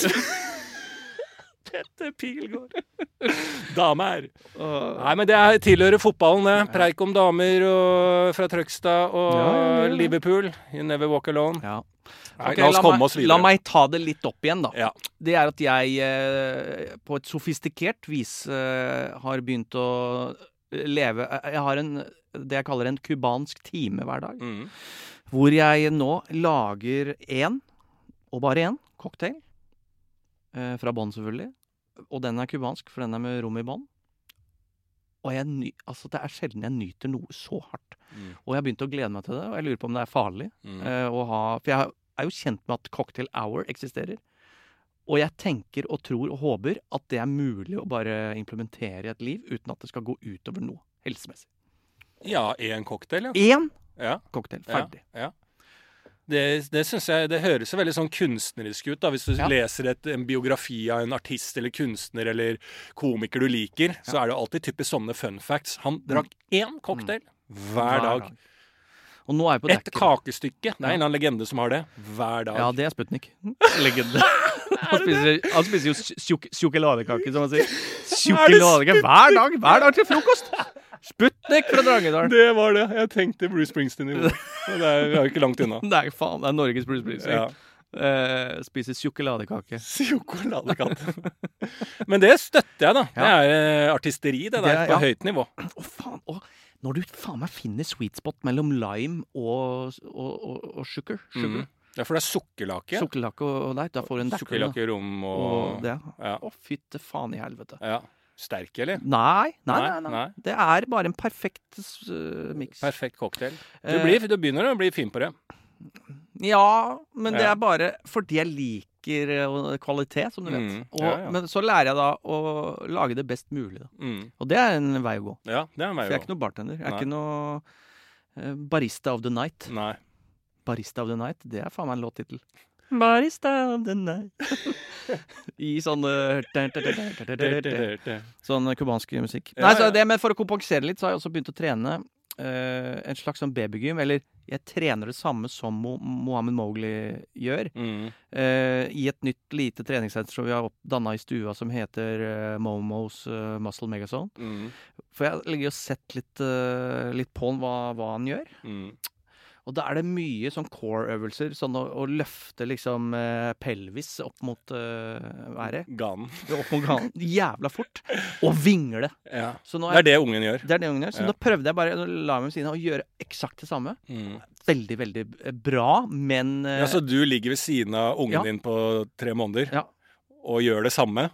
Speaker 1: Petter Pilgaard. Damer.
Speaker 2: [laughs] Åh.
Speaker 1: Nei, men det er, tilhører fotballen, det. Preik om damer og, fra Trøgstad og
Speaker 2: Ja, ja, ja, ja.
Speaker 1: Liverpool. You never walk alone.
Speaker 2: Ja.
Speaker 1: Nei,
Speaker 2: Ok,
Speaker 1: la oss
Speaker 2: la
Speaker 1: komme
Speaker 2: meg-
Speaker 1: oss videre.
Speaker 2: La meg ta det litt opp igjen, da.
Speaker 1: Ja.
Speaker 2: Det er at jeg eh, på et sofistikert vis eh, har begynt å leve Jeg har en det jeg kaller en cubansk time hver dag.
Speaker 1: Mm.
Speaker 2: Hvor jeg nå lager én, og bare én, cocktail. Eh, fra bånn, selvfølgelig. Og den er cubansk, for den er med rom i bånn. Og jeg ny, altså det er sjelden jeg nyter noe så hardt.
Speaker 1: Mm.
Speaker 2: Og jeg har begynt å glede meg til det, og jeg lurer på om det er farlig.
Speaker 1: Mm.
Speaker 2: eh, å ha For jeg er jo kjent med at cocktail hour eksisterer. Og jeg tenker og tror og håper at det er mulig å bare implementere i et liv uten at det skal gå utover noe helsemessig.
Speaker 1: Ja, én cocktail, ja.
Speaker 2: Én
Speaker 1: ja.
Speaker 2: cocktail.
Speaker 1: Ja,
Speaker 2: Ferdig.
Speaker 1: ja. Det, det synes jeg, det høres jo veldig sånn kunstnerisk ut. da Hvis du
Speaker 2: Ja.
Speaker 1: leser et, en biografi av en artist eller kunstner eller komiker du liker, så er det jo alltid typisk sånne fun facts. Han drakk én cocktail Mm. hver dag.
Speaker 2: Og nå er jeg på
Speaker 1: Et
Speaker 2: dekket.
Speaker 1: kakestykke. Det er en eller annen legende som har det. Hver dag.
Speaker 2: Ja, det er [laughs] Sputnik. Legende. Han spiser, han spiser jo sjokoladekake, som han [laughs] sier. Sjokoladekake hver dag! Hver dag til frokost! Sputnik fra Drangedal.
Speaker 1: Det var det. Jeg tenkte Bruce Springsteen i går. Og Det er vi er jo ikke langt unna.
Speaker 2: [laughs] Det er faen, det er Norges Bruce
Speaker 1: [laughs]
Speaker 2: Springsteen.
Speaker 1: Ja.
Speaker 2: Eh, spiser sjokoladekake.
Speaker 1: Sjokoladekatt. Men det støtter jeg, da. Det
Speaker 2: Ja.
Speaker 1: er eh, artisteri, det der.
Speaker 2: Det er-
Speaker 1: På
Speaker 2: ja.
Speaker 1: høyt nivå.
Speaker 2: Å, faen! Å, når du faen meg finner sweet spot mellom lime og, og, og, og sugar. sugar.
Speaker 1: Mm. Derfor det er sukkerlake.
Speaker 2: Sukkerlake og, og deit. Da får du en dekker. da.
Speaker 1: Sukkerlake, rom og,
Speaker 2: Og det.
Speaker 1: Ja.
Speaker 2: Å, fytte faen i helvete.
Speaker 1: ja. Sterk, eller?
Speaker 2: Nei, nei, nei.
Speaker 1: Nei,
Speaker 2: nei.
Speaker 1: nei.
Speaker 2: Det er bare en perfekt uh, miks.
Speaker 1: Perfekt cocktail. Du,
Speaker 2: Eh,
Speaker 1: blir, du begynner å bli fin på det.
Speaker 2: Ja, men det
Speaker 1: Ja.
Speaker 2: er bare fordi jeg liker eh, kvalitet, som du vet.
Speaker 1: Mm,
Speaker 2: Og,
Speaker 1: ja, ja.
Speaker 2: Men så lærer jeg da å lage det best mulig. Da.
Speaker 1: Mm.
Speaker 2: Og det er en vei å gå.
Speaker 1: Ja, det er
Speaker 2: For
Speaker 1: meg
Speaker 2: jeg
Speaker 1: jo.
Speaker 2: er ikke noe bartender. Jeg er
Speaker 1: Nei. Mm.
Speaker 2: ikke noe eh, barista of the night. [laughs]
Speaker 1: Nei.
Speaker 2: Barista of the night, det er faen meg en låttittel. Barista of the night. [laughs] I sånn
Speaker 1: [laughs]
Speaker 2: eh, Sånn cubansk musikk.
Speaker 1: Ja,
Speaker 2: Nei, så
Speaker 1: ja.
Speaker 2: det, men for å kompensere litt, så har jeg også begynt å trene eh, en slags sånn babygym. Eller jeg trener det samme som Mo Mohammed Mowgli gjør.
Speaker 1: Mm.
Speaker 2: eh, I et nytt lite treningssenter som vi har danna i stua, som heter eh, Momos eh, Muscle Megazone.
Speaker 1: Mm.
Speaker 2: For jeg har ligget og sett litt, eh, litt på han hva, hva han gjør.
Speaker 1: Mm.
Speaker 2: Og da er det mye sånn core-øvelser. Sånn å, å løfte liksom eh, pelvis opp mot eh, været.
Speaker 1: Ganen.
Speaker 2: Opp mot ganen jævla fort. Og vingle.
Speaker 1: Ja.
Speaker 2: Så nå
Speaker 1: Det er det ungen gjør.
Speaker 2: det er det ungen gjør. Så
Speaker 1: Ja.
Speaker 2: da prøvde jeg bare å la meg ved siden av å gjøre eksakt det samme.
Speaker 1: Mm.
Speaker 2: Veldig, veldig eh, bra, men eh,
Speaker 1: Ja, så du ligger ved siden av ungen
Speaker 2: Ja.
Speaker 1: din på tre måneder
Speaker 2: Ja.
Speaker 1: og gjør det samme?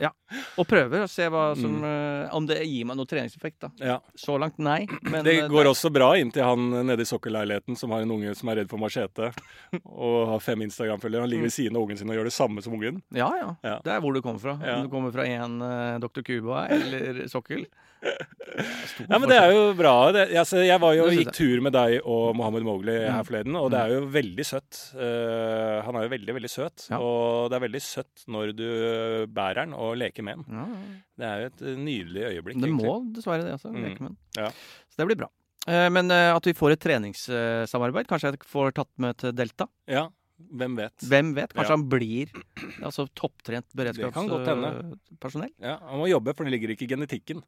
Speaker 2: Og prøver å se
Speaker 1: Mm.
Speaker 2: hva som, eh, om det gir meg noe treningseffekt, da.
Speaker 1: Ja.
Speaker 2: Så langt nei, men
Speaker 1: Det
Speaker 2: eh,
Speaker 1: går også bra inntil han nede i sokkelleiligheten som har en unge som er redd for machete og har fem Instagram-følgere. Han
Speaker 2: Mm.
Speaker 1: ligger ved siden av ungen sin og gjør det samme som ungen.
Speaker 2: ja, ja,
Speaker 1: Ja.
Speaker 2: Det er hvor du kommer fra.
Speaker 1: Ja.
Speaker 2: Om du kommer fra en eh, Dr. Cuba eller sokkel.
Speaker 1: [laughs] Ja, men Det er jo bra. Det, altså, jeg var jo,
Speaker 2: Det synes
Speaker 1: gikk tur med deg og Mohammed Mowgli her
Speaker 2: Mm.
Speaker 1: forleden, og det er jo veldig søtt. Eh, han er jo veldig, veldig søt.
Speaker 2: Ja.
Speaker 1: Og det er veldig søtt når du bærer den og leker med den.
Speaker 2: ja, ja.
Speaker 1: Det er jo et nydelig øyeblikk.
Speaker 2: Det
Speaker 1: egentlig.
Speaker 2: må dessverre det, altså.
Speaker 1: Mm.
Speaker 2: lekemenn.
Speaker 1: Ja.
Speaker 2: Så det blir bra. Eh, Men eh, at vi får et treningssamarbeid, kanskje jeg får tatt med til Delta.
Speaker 1: Ja, hvem vet.
Speaker 2: Hvem vet? Kanskje
Speaker 1: Ja.
Speaker 2: han blir altså, topptrent
Speaker 1: kan godt hende.
Speaker 2: beredskapspersonell.
Speaker 1: Ja, han må jobbe, for det ligger ikke i genetikken.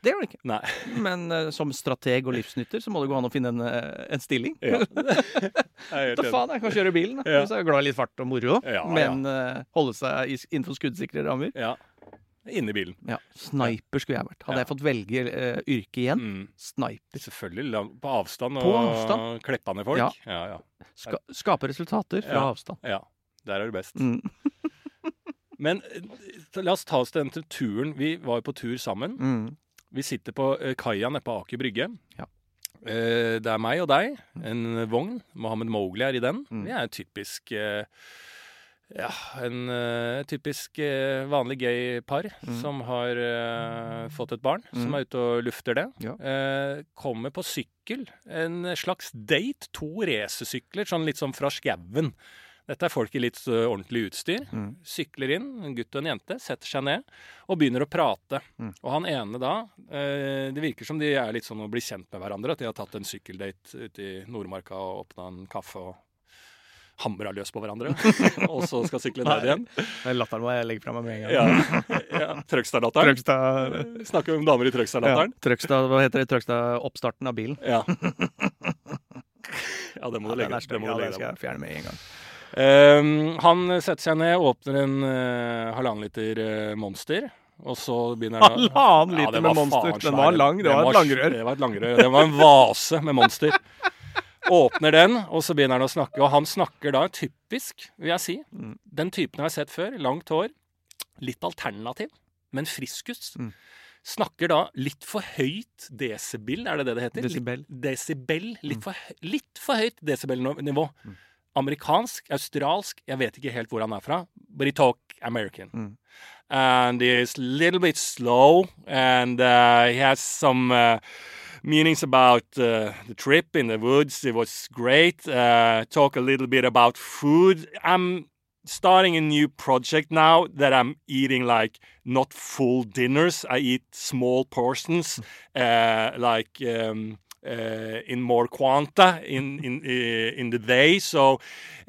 Speaker 2: Det gjør det ikke.
Speaker 1: Nei.
Speaker 2: Men eh, som strateg og livsnytter så må det gå an å finne en, eh, en stilling.
Speaker 1: [laughs] Ja. Jeg er helt
Speaker 2: [laughs] Da
Speaker 1: enig.
Speaker 2: faen, jeg kan kjøre bilen, da.
Speaker 1: Ja.
Speaker 2: Hvis jeg er glad i litt fart og moro.
Speaker 1: Ja,
Speaker 2: men eh, holde seg i- innenfor skuddsikre rammer.
Speaker 1: Ja. Inni bilen.
Speaker 2: Ja, Sniper skulle jeg vært. Hadde
Speaker 1: Ja.
Speaker 2: jeg fått velge eh, yrke igjen,
Speaker 1: Mm.
Speaker 2: sniper.
Speaker 1: Selvfølgelig. lang- På avstand og
Speaker 2: På avstand.
Speaker 1: kleppa ned folk.
Speaker 2: Ja.
Speaker 1: ja, ja.
Speaker 2: Ska skape resultater fra
Speaker 1: Ja.
Speaker 2: avstand.
Speaker 1: ja. Der er du best.
Speaker 2: Mm.
Speaker 1: Men eh, så la oss ta oss den til turen. Vi var jo på tur sammen.
Speaker 2: Mm.
Speaker 1: Vi sitter på eh, kaia nede på Aker Brygge.
Speaker 2: Ja.
Speaker 1: Eh, Det er meg og deg, en vogn. Mohammed Mowgli er i den.
Speaker 2: Mm.
Speaker 1: Vi er typisk eh, ja, en eh, typisk eh, vanlig gay par
Speaker 2: Mm.
Speaker 1: som har eh, fått et barn, som
Speaker 2: Mm.
Speaker 1: er ute og lufter det.
Speaker 2: Ja.
Speaker 1: Eh, kommer på sykkel, en slags date, to racersykler, sånn litt sånn fra skauen. Dette er folk i litt eh, ordentlig utstyr.
Speaker 2: Mm.
Speaker 1: Sykler inn, en gutt og en jente, setter seg ned og begynner å prate.
Speaker 2: Mm.
Speaker 1: Og han ene da eh, Det virker som de er litt sånn å bli kjent med hverandre. At de har tatt en sykkeldate ute i Nordmarka og åpna en kaffe og hamra løs på hverandre. [laughs] og så skal sykle ned igjen.
Speaker 2: Latteren må jeg legge fra meg med en gang.
Speaker 1: Ja, ja. Trøgstadlatteren.
Speaker 2: Trøgstad
Speaker 1: Snakker om damer i Trøgstadlatteren.
Speaker 2: Trøgstad, hva heter det? Trøgstad Oppstarten av bilen.
Speaker 1: Ja. ja, det må du legge
Speaker 2: den er
Speaker 1: deg det
Speaker 2: stygg.
Speaker 1: må du
Speaker 2: Ja, den
Speaker 1: legge deg
Speaker 2: skal jeg fjerne med en gang.
Speaker 1: Ehm, han setter seg ned, åpner en eh, halvannen liter eh, Monster, og så begynner han å-
Speaker 2: Halvannen
Speaker 1: Ja,
Speaker 2: liter
Speaker 1: den
Speaker 2: med
Speaker 1: var
Speaker 2: Monster.
Speaker 1: faen
Speaker 2: Den
Speaker 1: svær.
Speaker 2: var lang, det
Speaker 1: Den
Speaker 2: var
Speaker 1: s-
Speaker 2: et langrør.
Speaker 1: Det var et langrør. Det var en vase med Monster. Åpner den, og så begynner han å snakke, og han snakker da typisk, vil jeg si.
Speaker 2: Mm.
Speaker 1: Den typen har jeg sett før. Langt hår. Litt alternativ, men friskus.
Speaker 2: Mm.
Speaker 1: Snakker da litt for høyt desibel, er det det det heter? Litt
Speaker 2: Desibel.
Speaker 1: desibel. Litt for, hø- litt for høyt desibelnivå.
Speaker 2: Mm.
Speaker 1: Amerikansk, australsk, jeg vet ikke helt hvor han er fra. But he talk American.
Speaker 2: Mm.
Speaker 1: And he's a little bit slow, and uh, he has some uh, meanings about uh, the trip in the woods. It was great. Uh, talk a little bit about food. I'm starting a new project now that I'm eating like not full dinners. I eat small portions,
Speaker 2: Mm.
Speaker 1: uh, like um, uh, in more quanta in in uh, in the day. So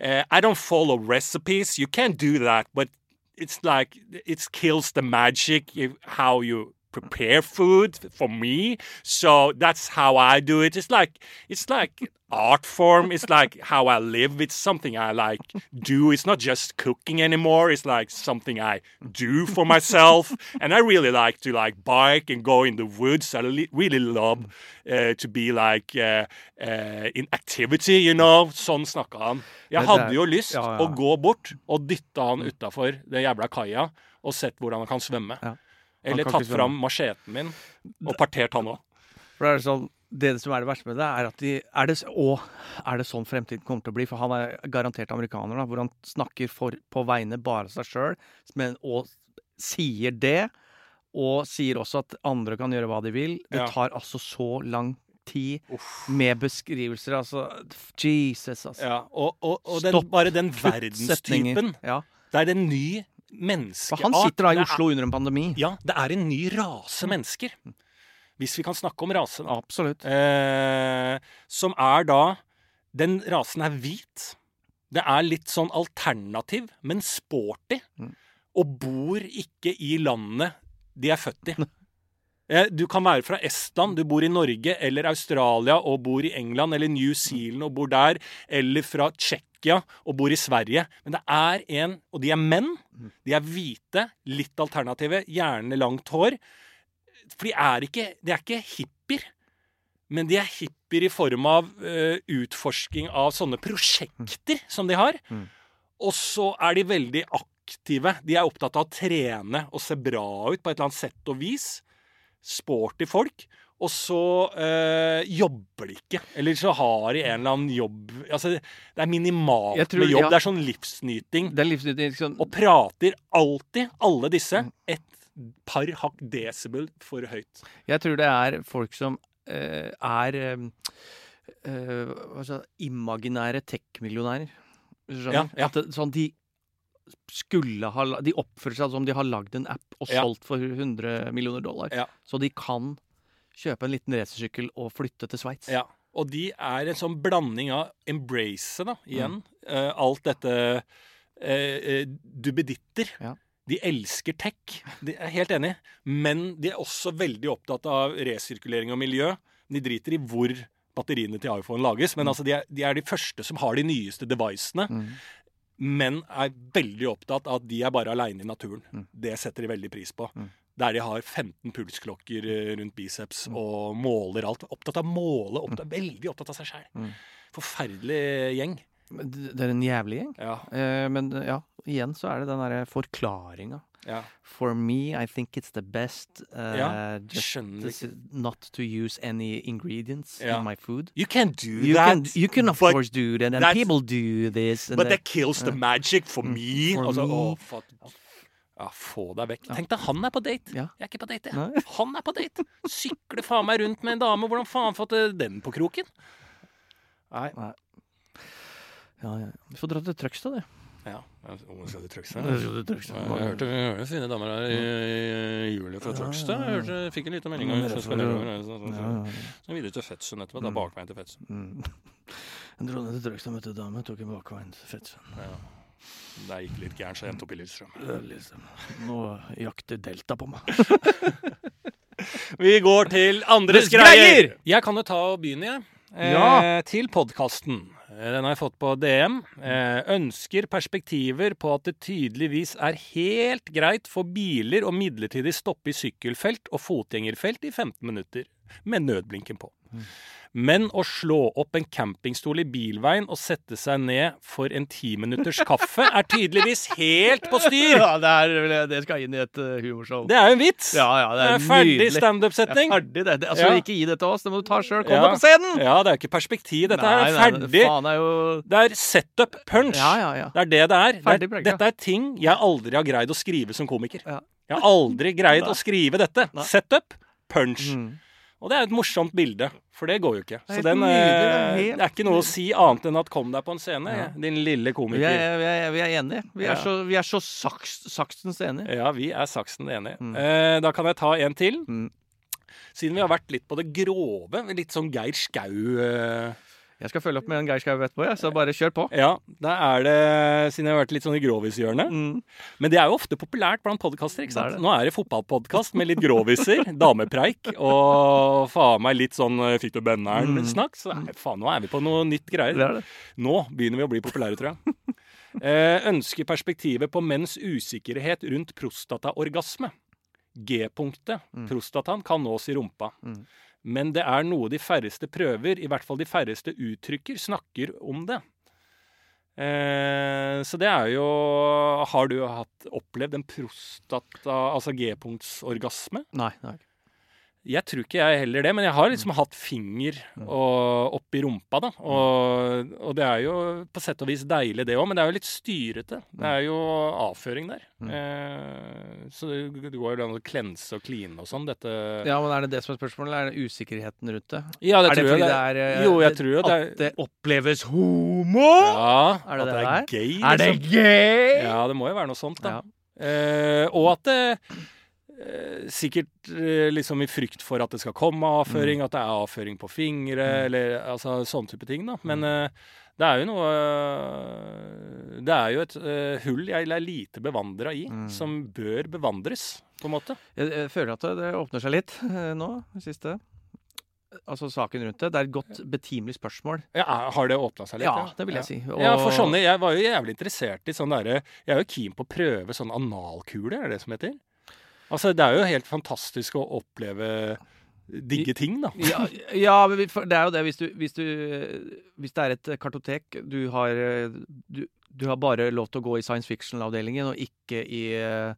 Speaker 1: uh, I don't follow recipes. You can't do that, but it's like it kills the magic if, how you prepare food for me so that's how i do it it's like it's like art form it's like how i live it's something i like do it's not just cooking anymore it's like something i do for myself and i really like to like bike and go in the woods i li- really love uh, to be like uh, uh, in activity you know sånn snakka han jeg
Speaker 2: Men det er-
Speaker 1: hadde jo lyst
Speaker 2: Ja, ja,
Speaker 1: å
Speaker 2: ja.
Speaker 1: gå bort og dytte han utafor det jævla kaia og sett hvordan han kan svømme.
Speaker 2: Ja. Han
Speaker 1: Eller
Speaker 2: kan
Speaker 1: tatt
Speaker 2: ikke svømme.
Speaker 1: fram macheten min og partert han òg.
Speaker 2: For det er sånn, det som er det verste med det, er at de er det, s- Å, er det sånn fremtiden kommer til å bli? For han er garantert amerikaner, da, hvor han snakker for, på vegne bare av seg sjøl, men og sier det. Og sier også at andre kan gjøre hva de vil. Det
Speaker 1: Ja.
Speaker 2: tar altså så lang tid med beskrivelser. Altså Jesus, altså.
Speaker 1: Ja, og og, og den,
Speaker 2: Stopp.
Speaker 1: bare den
Speaker 2: Setninger.
Speaker 1: verdenstypen.
Speaker 2: Ja.
Speaker 1: Det er en ny
Speaker 2: For
Speaker 1: menneskeart.
Speaker 2: han sitter da i
Speaker 1: Det er-
Speaker 2: Oslo Mm. under en pandemi.
Speaker 1: Ja, det er en ny rase mennesker. Hvis vi kan snakke om rase, da.
Speaker 2: Absolutt.
Speaker 1: Eh, som er da Den rasen er hvit. Det er litt sånn alternativ, men sporty.
Speaker 2: Mm.
Speaker 1: Og bor ikke i landet de er født i. Eh, Du kan være fra Estland, du bor i Norge eller Australia og bor i England eller New Zealand og bor der, eller fra Tsjekkia og bor i Sverige. Men det er en Og de er menn. De er hvite, litt alternative, gjerne langt hår. For de er ikke, de er ikke hippier. Men de er hippier i form av eh, utforsking av sånne prosjekter som de har.
Speaker 2: Mm.
Speaker 1: Og så er de veldig aktive. De er opptatt av å trene og se bra ut på et eller annet sett og vis. Sporty folk. Og så eh, jobber de ikke. Eller så har de en eller annen jobb Altså, det er minimalt
Speaker 2: Jeg tror-
Speaker 1: med jobb.
Speaker 2: ja.
Speaker 1: Det er sånn livsnyting.
Speaker 2: Det er livsnyttig. Liksom,
Speaker 1: Og prater alltid, alle disse, et par hakk desibel for høyt.
Speaker 2: Jeg tror det er folk som eh, er eh, eh, hva skal jeg si, imaginære tech-millionærer. Hvis du skjønner?
Speaker 1: Ja, ja.
Speaker 2: At det, sånn de skulle ha la- De oppfører seg som de har lagd en app og
Speaker 1: Ja.
Speaker 2: solgt for 100 millioner dollar.
Speaker 1: Ja.
Speaker 2: Så de kan kjøpe en liten racersykkel og flytte til Sveits.
Speaker 1: Ja. Og de er en sånn blanding av embrace, da, igjen. eh, alt dette eh, eh, duppeditter.
Speaker 2: Ja.
Speaker 1: De elsker tech, de er helt enig. Men de er også veldig opptatt av resirkulering og miljø. De driter i hvor batteriene til iPhone lages, men altså de, er, de er de første som har de nyeste devicene.
Speaker 2: Mm.
Speaker 1: men er veldig opptatt av at de er bare aleine i naturen.
Speaker 2: Mm.
Speaker 1: Det setter de veldig pris på.
Speaker 2: Mm.
Speaker 1: Der de har 15 pulsklokker eh, rundt biceps og måler alt. Opptatt av å måle, opptatt, veldig opptatt av seg sjæl.
Speaker 2: Mm.
Speaker 1: Forferdelig gjeng.
Speaker 2: Men Det det er en jævlig gjeng.
Speaker 1: Ja,
Speaker 2: Eh, men ja, igjen så er det den derre forklaringa.
Speaker 1: ja.
Speaker 2: For me, I think it's the best eh,
Speaker 1: Ja,
Speaker 2: just
Speaker 1: Skjønner
Speaker 2: this
Speaker 1: ikke
Speaker 2: is not to use any ingredients
Speaker 1: Mm, Ja.
Speaker 2: in my food.
Speaker 1: You can do
Speaker 2: You
Speaker 1: that,
Speaker 2: can, you can of
Speaker 1: but-
Speaker 2: course do that, and
Speaker 1: that's-
Speaker 2: people do this. And
Speaker 1: but
Speaker 2: that-
Speaker 1: that kills the magic for me.
Speaker 2: Mm. for
Speaker 1: altså,
Speaker 2: me.
Speaker 1: Å, fuck. Ja, få deg vekk. Tenk deg, han er på date.
Speaker 2: Ja.
Speaker 1: Jeg er ikke på date, jeg.
Speaker 2: Nei. [laughs]
Speaker 1: Han er på date. Sykler faen meg rundt med en dame. Hvordan faen fått eh, den på kroken? Nei.
Speaker 2: Ja, ja. Du får dra til Trøgstad, du.
Speaker 1: Ja. Hvor skal du trøkse? Jeg hørte, jeg hørte fine damer her i, i juli fra
Speaker 2: Ja,
Speaker 1: Trøgstad. Jeg
Speaker 2: ja, ja.
Speaker 1: hørte, fikk en liten melding om altså, hun
Speaker 2: Mm, det
Speaker 1: som
Speaker 2: er
Speaker 1: skal
Speaker 2: for-
Speaker 1: nedover. Så- så-
Speaker 2: Ja,
Speaker 1: så-
Speaker 2: ja, ja.
Speaker 1: Så sånn- videre til Fetsund etterpå. Da
Speaker 2: Mm.
Speaker 1: bakveien til Fetsund.
Speaker 2: Mm. [laughs] Jeg dro ned til Trøgstad, møtte ei dame, tok en bakveien til Fettsund.
Speaker 1: Ja. Der gikk det litt gærent, så jeg endte opp i Lillestrøm.
Speaker 2: Liksom. Nå jakter Delta på meg.
Speaker 1: [laughs] Vi går til andres
Speaker 2: Andres greier!
Speaker 1: greier! Jeg kan jo ta og begynne, jeg. Eh,
Speaker 2: Ja.
Speaker 1: Til podkasten. Eh, Den har jeg fått på DM. Eh, ønsker perspektiver på at det tydeligvis er helt greit for biler å midlertidig stoppe i sykkelfelt og fotgjengerfelt i 15 minutter med nødblinken på. Men å slå opp en campingstol i bilveien og sette seg ned for en timinutters kaffe er tydeligvis helt på styr!
Speaker 2: Ja, det, er, det skal inn i et eh, humorshow.
Speaker 1: Det er jo en vits!
Speaker 2: ja, ja, det
Speaker 1: Det
Speaker 2: er
Speaker 1: er ferdig
Speaker 2: nydelig. Det er
Speaker 1: standup-setning.
Speaker 2: ferdig, det. det altså,
Speaker 1: Ja.
Speaker 2: Ikke gi det til oss, det må du ta sjøl. Kom
Speaker 1: Ja.
Speaker 2: deg på scenen!
Speaker 1: Ja, det er jo ikke perspektiv. Dette her
Speaker 2: Nei,
Speaker 1: er
Speaker 2: nei,
Speaker 1: ferdig.
Speaker 2: Faen er jo
Speaker 1: Det er setup punch.
Speaker 2: Ja, ja, ja.
Speaker 1: Det er det det er. Det
Speaker 2: Ferdig
Speaker 1: er
Speaker 2: brekka.
Speaker 1: dette er ting jeg aldri har greid å skrive som komiker.
Speaker 2: Ja.
Speaker 1: Jeg har aldri greid å skrive dette.
Speaker 2: Nei.
Speaker 1: Setup, punch.
Speaker 2: Mm.
Speaker 1: Og det er jo et morsomt bilde, for det går jo ikke.
Speaker 2: er
Speaker 1: Så
Speaker 2: helt
Speaker 1: den,
Speaker 2: nydelig, det er
Speaker 1: eh,
Speaker 2: helt
Speaker 1: det er ikke noe å si annet enn at kom deg på en scene,
Speaker 2: Ja.
Speaker 1: din lille
Speaker 2: Vi,
Speaker 1: komiker.
Speaker 2: er, vi, er, vi er enige. Vi er
Speaker 1: Ja.
Speaker 2: så, vi er så saks, saksens enige.
Speaker 1: Ja, vi er saksen enige.
Speaker 2: Mm.
Speaker 1: Eh, da kan jeg ta en til.
Speaker 2: Mm.
Speaker 1: Siden vi har vært litt på det grove, litt sånn Geir Skau eh,
Speaker 2: Jeg skal følge opp med en Geir Skau etterpå, jeg, så bare kjør på.
Speaker 1: Ja, da er det Siden jeg har vært litt sånn i grovishjørnet.
Speaker 2: Mm.
Speaker 1: Men det er jo ofte populært blant podkaster. ikke sant?
Speaker 2: Det er det.
Speaker 1: Nå er det fotballpodkast med litt groviser, [laughs] damepreik og faen meg litt sånn eh, fikk du bønneren-snakk. Så nei, faen, nå er vi på noe nytt
Speaker 2: Mm. Det
Speaker 1: greier.
Speaker 2: er det.
Speaker 1: Nå begynner vi å bli populære, tror jeg. Eh, ønsker perspektivet på menns usikkerhet rundt prostataorgasme. G-punktet, prostataen, kan nås i rumpa.
Speaker 2: Mm.
Speaker 1: Men det er noe de færreste prøver, i hvert fall de færreste uttrykker, snakker om det. Eh, så det er jo Har du hatt, opplevd en prostata... Altså G-punktsorgasme?
Speaker 2: Nei, det er ikke.
Speaker 1: Jeg tror ikke jeg heller det, men jeg
Speaker 2: Mm.
Speaker 1: har liksom hatt finger og, oppi rumpa, da. Og, og det er jo på sett og vis deilig, det òg, men det er jo litt styrete.
Speaker 2: Mm.
Speaker 1: Det er jo avføring der. Eh, så det, det går jo an å klense og kline og sånn, dette
Speaker 2: Ja, men Er det det som er spørsmålet? Er det usikkerheten rundt det?
Speaker 1: Ja,
Speaker 2: er det
Speaker 1: tror jeg
Speaker 2: fordi det er, eh,
Speaker 1: Jo, jeg tror jo det er
Speaker 2: At det oppleves homo?
Speaker 1: Ja,
Speaker 2: Er det
Speaker 1: at det
Speaker 2: det
Speaker 1: er
Speaker 2: der?
Speaker 1: gay.
Speaker 2: Er det
Speaker 1: liksom.
Speaker 2: gøy?
Speaker 1: Ja, det må jo være noe sånt, da.
Speaker 2: Ja.
Speaker 1: Eh, og at det eh, Sikkert eh, liksom i frykt for at det skal komme
Speaker 2: Mm.
Speaker 1: avføring, at det er avføring på fingre, eller altså sånne type ting, da. Men
Speaker 2: Mm.
Speaker 1: eh, det er jo noe eh, Det er jo et eh, hull jeg er lite bevandra i,
Speaker 2: Mm.
Speaker 1: som bør bevandres, på en måte.
Speaker 2: Jeg, jeg føler at det, det åpner seg litt eh, nå, det siste. Altså saken rundt det. Det er et godt, betimelig spørsmål.
Speaker 1: Ja, er- Eh, har det åpna seg litt?
Speaker 2: Ja, det vil jeg si. Og-
Speaker 1: Ja, for sånne, Jeg var jo jævlig interessert i sånn derre Jeg er jo keen på å prøve sånn analkule, er det det som heter? Altså, det er jo helt fantastisk å oppleve digge ting, da.
Speaker 2: ja, ja, men vi- for det er jo det hvis du, hvis du Hvis det er et kartotek Du har, eh, du, du har bare lov til å gå i science fiction-avdelingen, og ikke i, eh,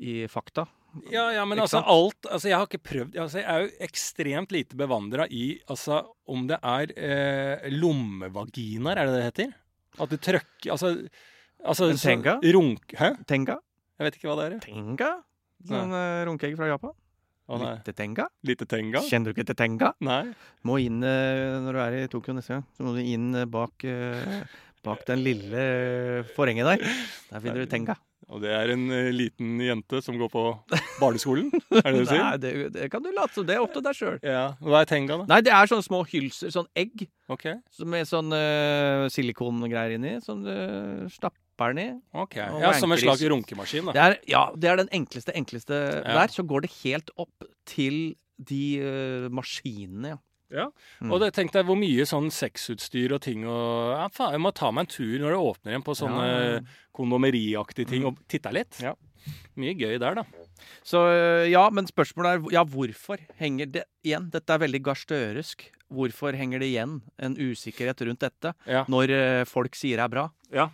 Speaker 2: i fakta.
Speaker 1: Ja, ja, men
Speaker 2: Ikke
Speaker 1: altså
Speaker 2: sant?
Speaker 1: alt Altså, jeg har ikke prøvd altså, Jeg er jo ekstremt lite bevandra i altså om det er eh, lommevaginaer, er det det heter? At du trøkker Altså, altså
Speaker 2: En
Speaker 1: sånn
Speaker 2: tenga?
Speaker 1: Runk... Hæ?
Speaker 2: Tenga.
Speaker 1: Jeg vet ikke hva det er. jeg.
Speaker 2: Tenga? Sånn eh, runkeegg fra Japan.
Speaker 1: Å nei.
Speaker 2: Lite tenga.
Speaker 1: Lite tenga?
Speaker 2: Kjenner du ikke til tenga?
Speaker 1: Nei.
Speaker 2: Må inn eh, når du er i Tokyo neste gang. Så må du inn eh, bak eh, Bak den lille forhenget der. Der finner du tenga.
Speaker 1: Og det er en eh, liten jente som går på barneskolen, er det
Speaker 2: [laughs]
Speaker 1: det du
Speaker 2: Nei,
Speaker 1: sier?
Speaker 2: det, det kan du late som. Det er opp til deg sjøl.
Speaker 1: Ja. Hva er tenga, da?
Speaker 2: Nei, det er sånne små hylser. Sånn egg
Speaker 1: Ok.
Speaker 2: som med sånn eh, silikongreier inni. Som du stapper den i.
Speaker 1: ok.
Speaker 2: Og
Speaker 1: Ja, Som en
Speaker 2: vankeris.
Speaker 1: slags runkemaskin,
Speaker 2: Det
Speaker 1: da.
Speaker 2: er, ja, det er den enkleste, enkleste
Speaker 1: Ja.
Speaker 2: der. Så går det helt opp til de eh, maskinene, ja. Mm.
Speaker 1: Og det, tenk deg hvor mye sånn sexutstyr og ting og ja, faen, Jeg må ta meg en tur når det åpner igjen på sånne
Speaker 2: Ja.
Speaker 1: kondomeriaktige ting, og titte litt.
Speaker 2: Ja.
Speaker 1: Mye gøy der, da.
Speaker 2: Så eh, ja, men spørsmålet er ja, hvorfor henger det igjen? Dette er veldig Gahr Støresk. Hvorfor henger det igjen en usikkerhet rundt dette
Speaker 1: Ja.
Speaker 2: når eh, folk sier det er bra?
Speaker 1: Ja.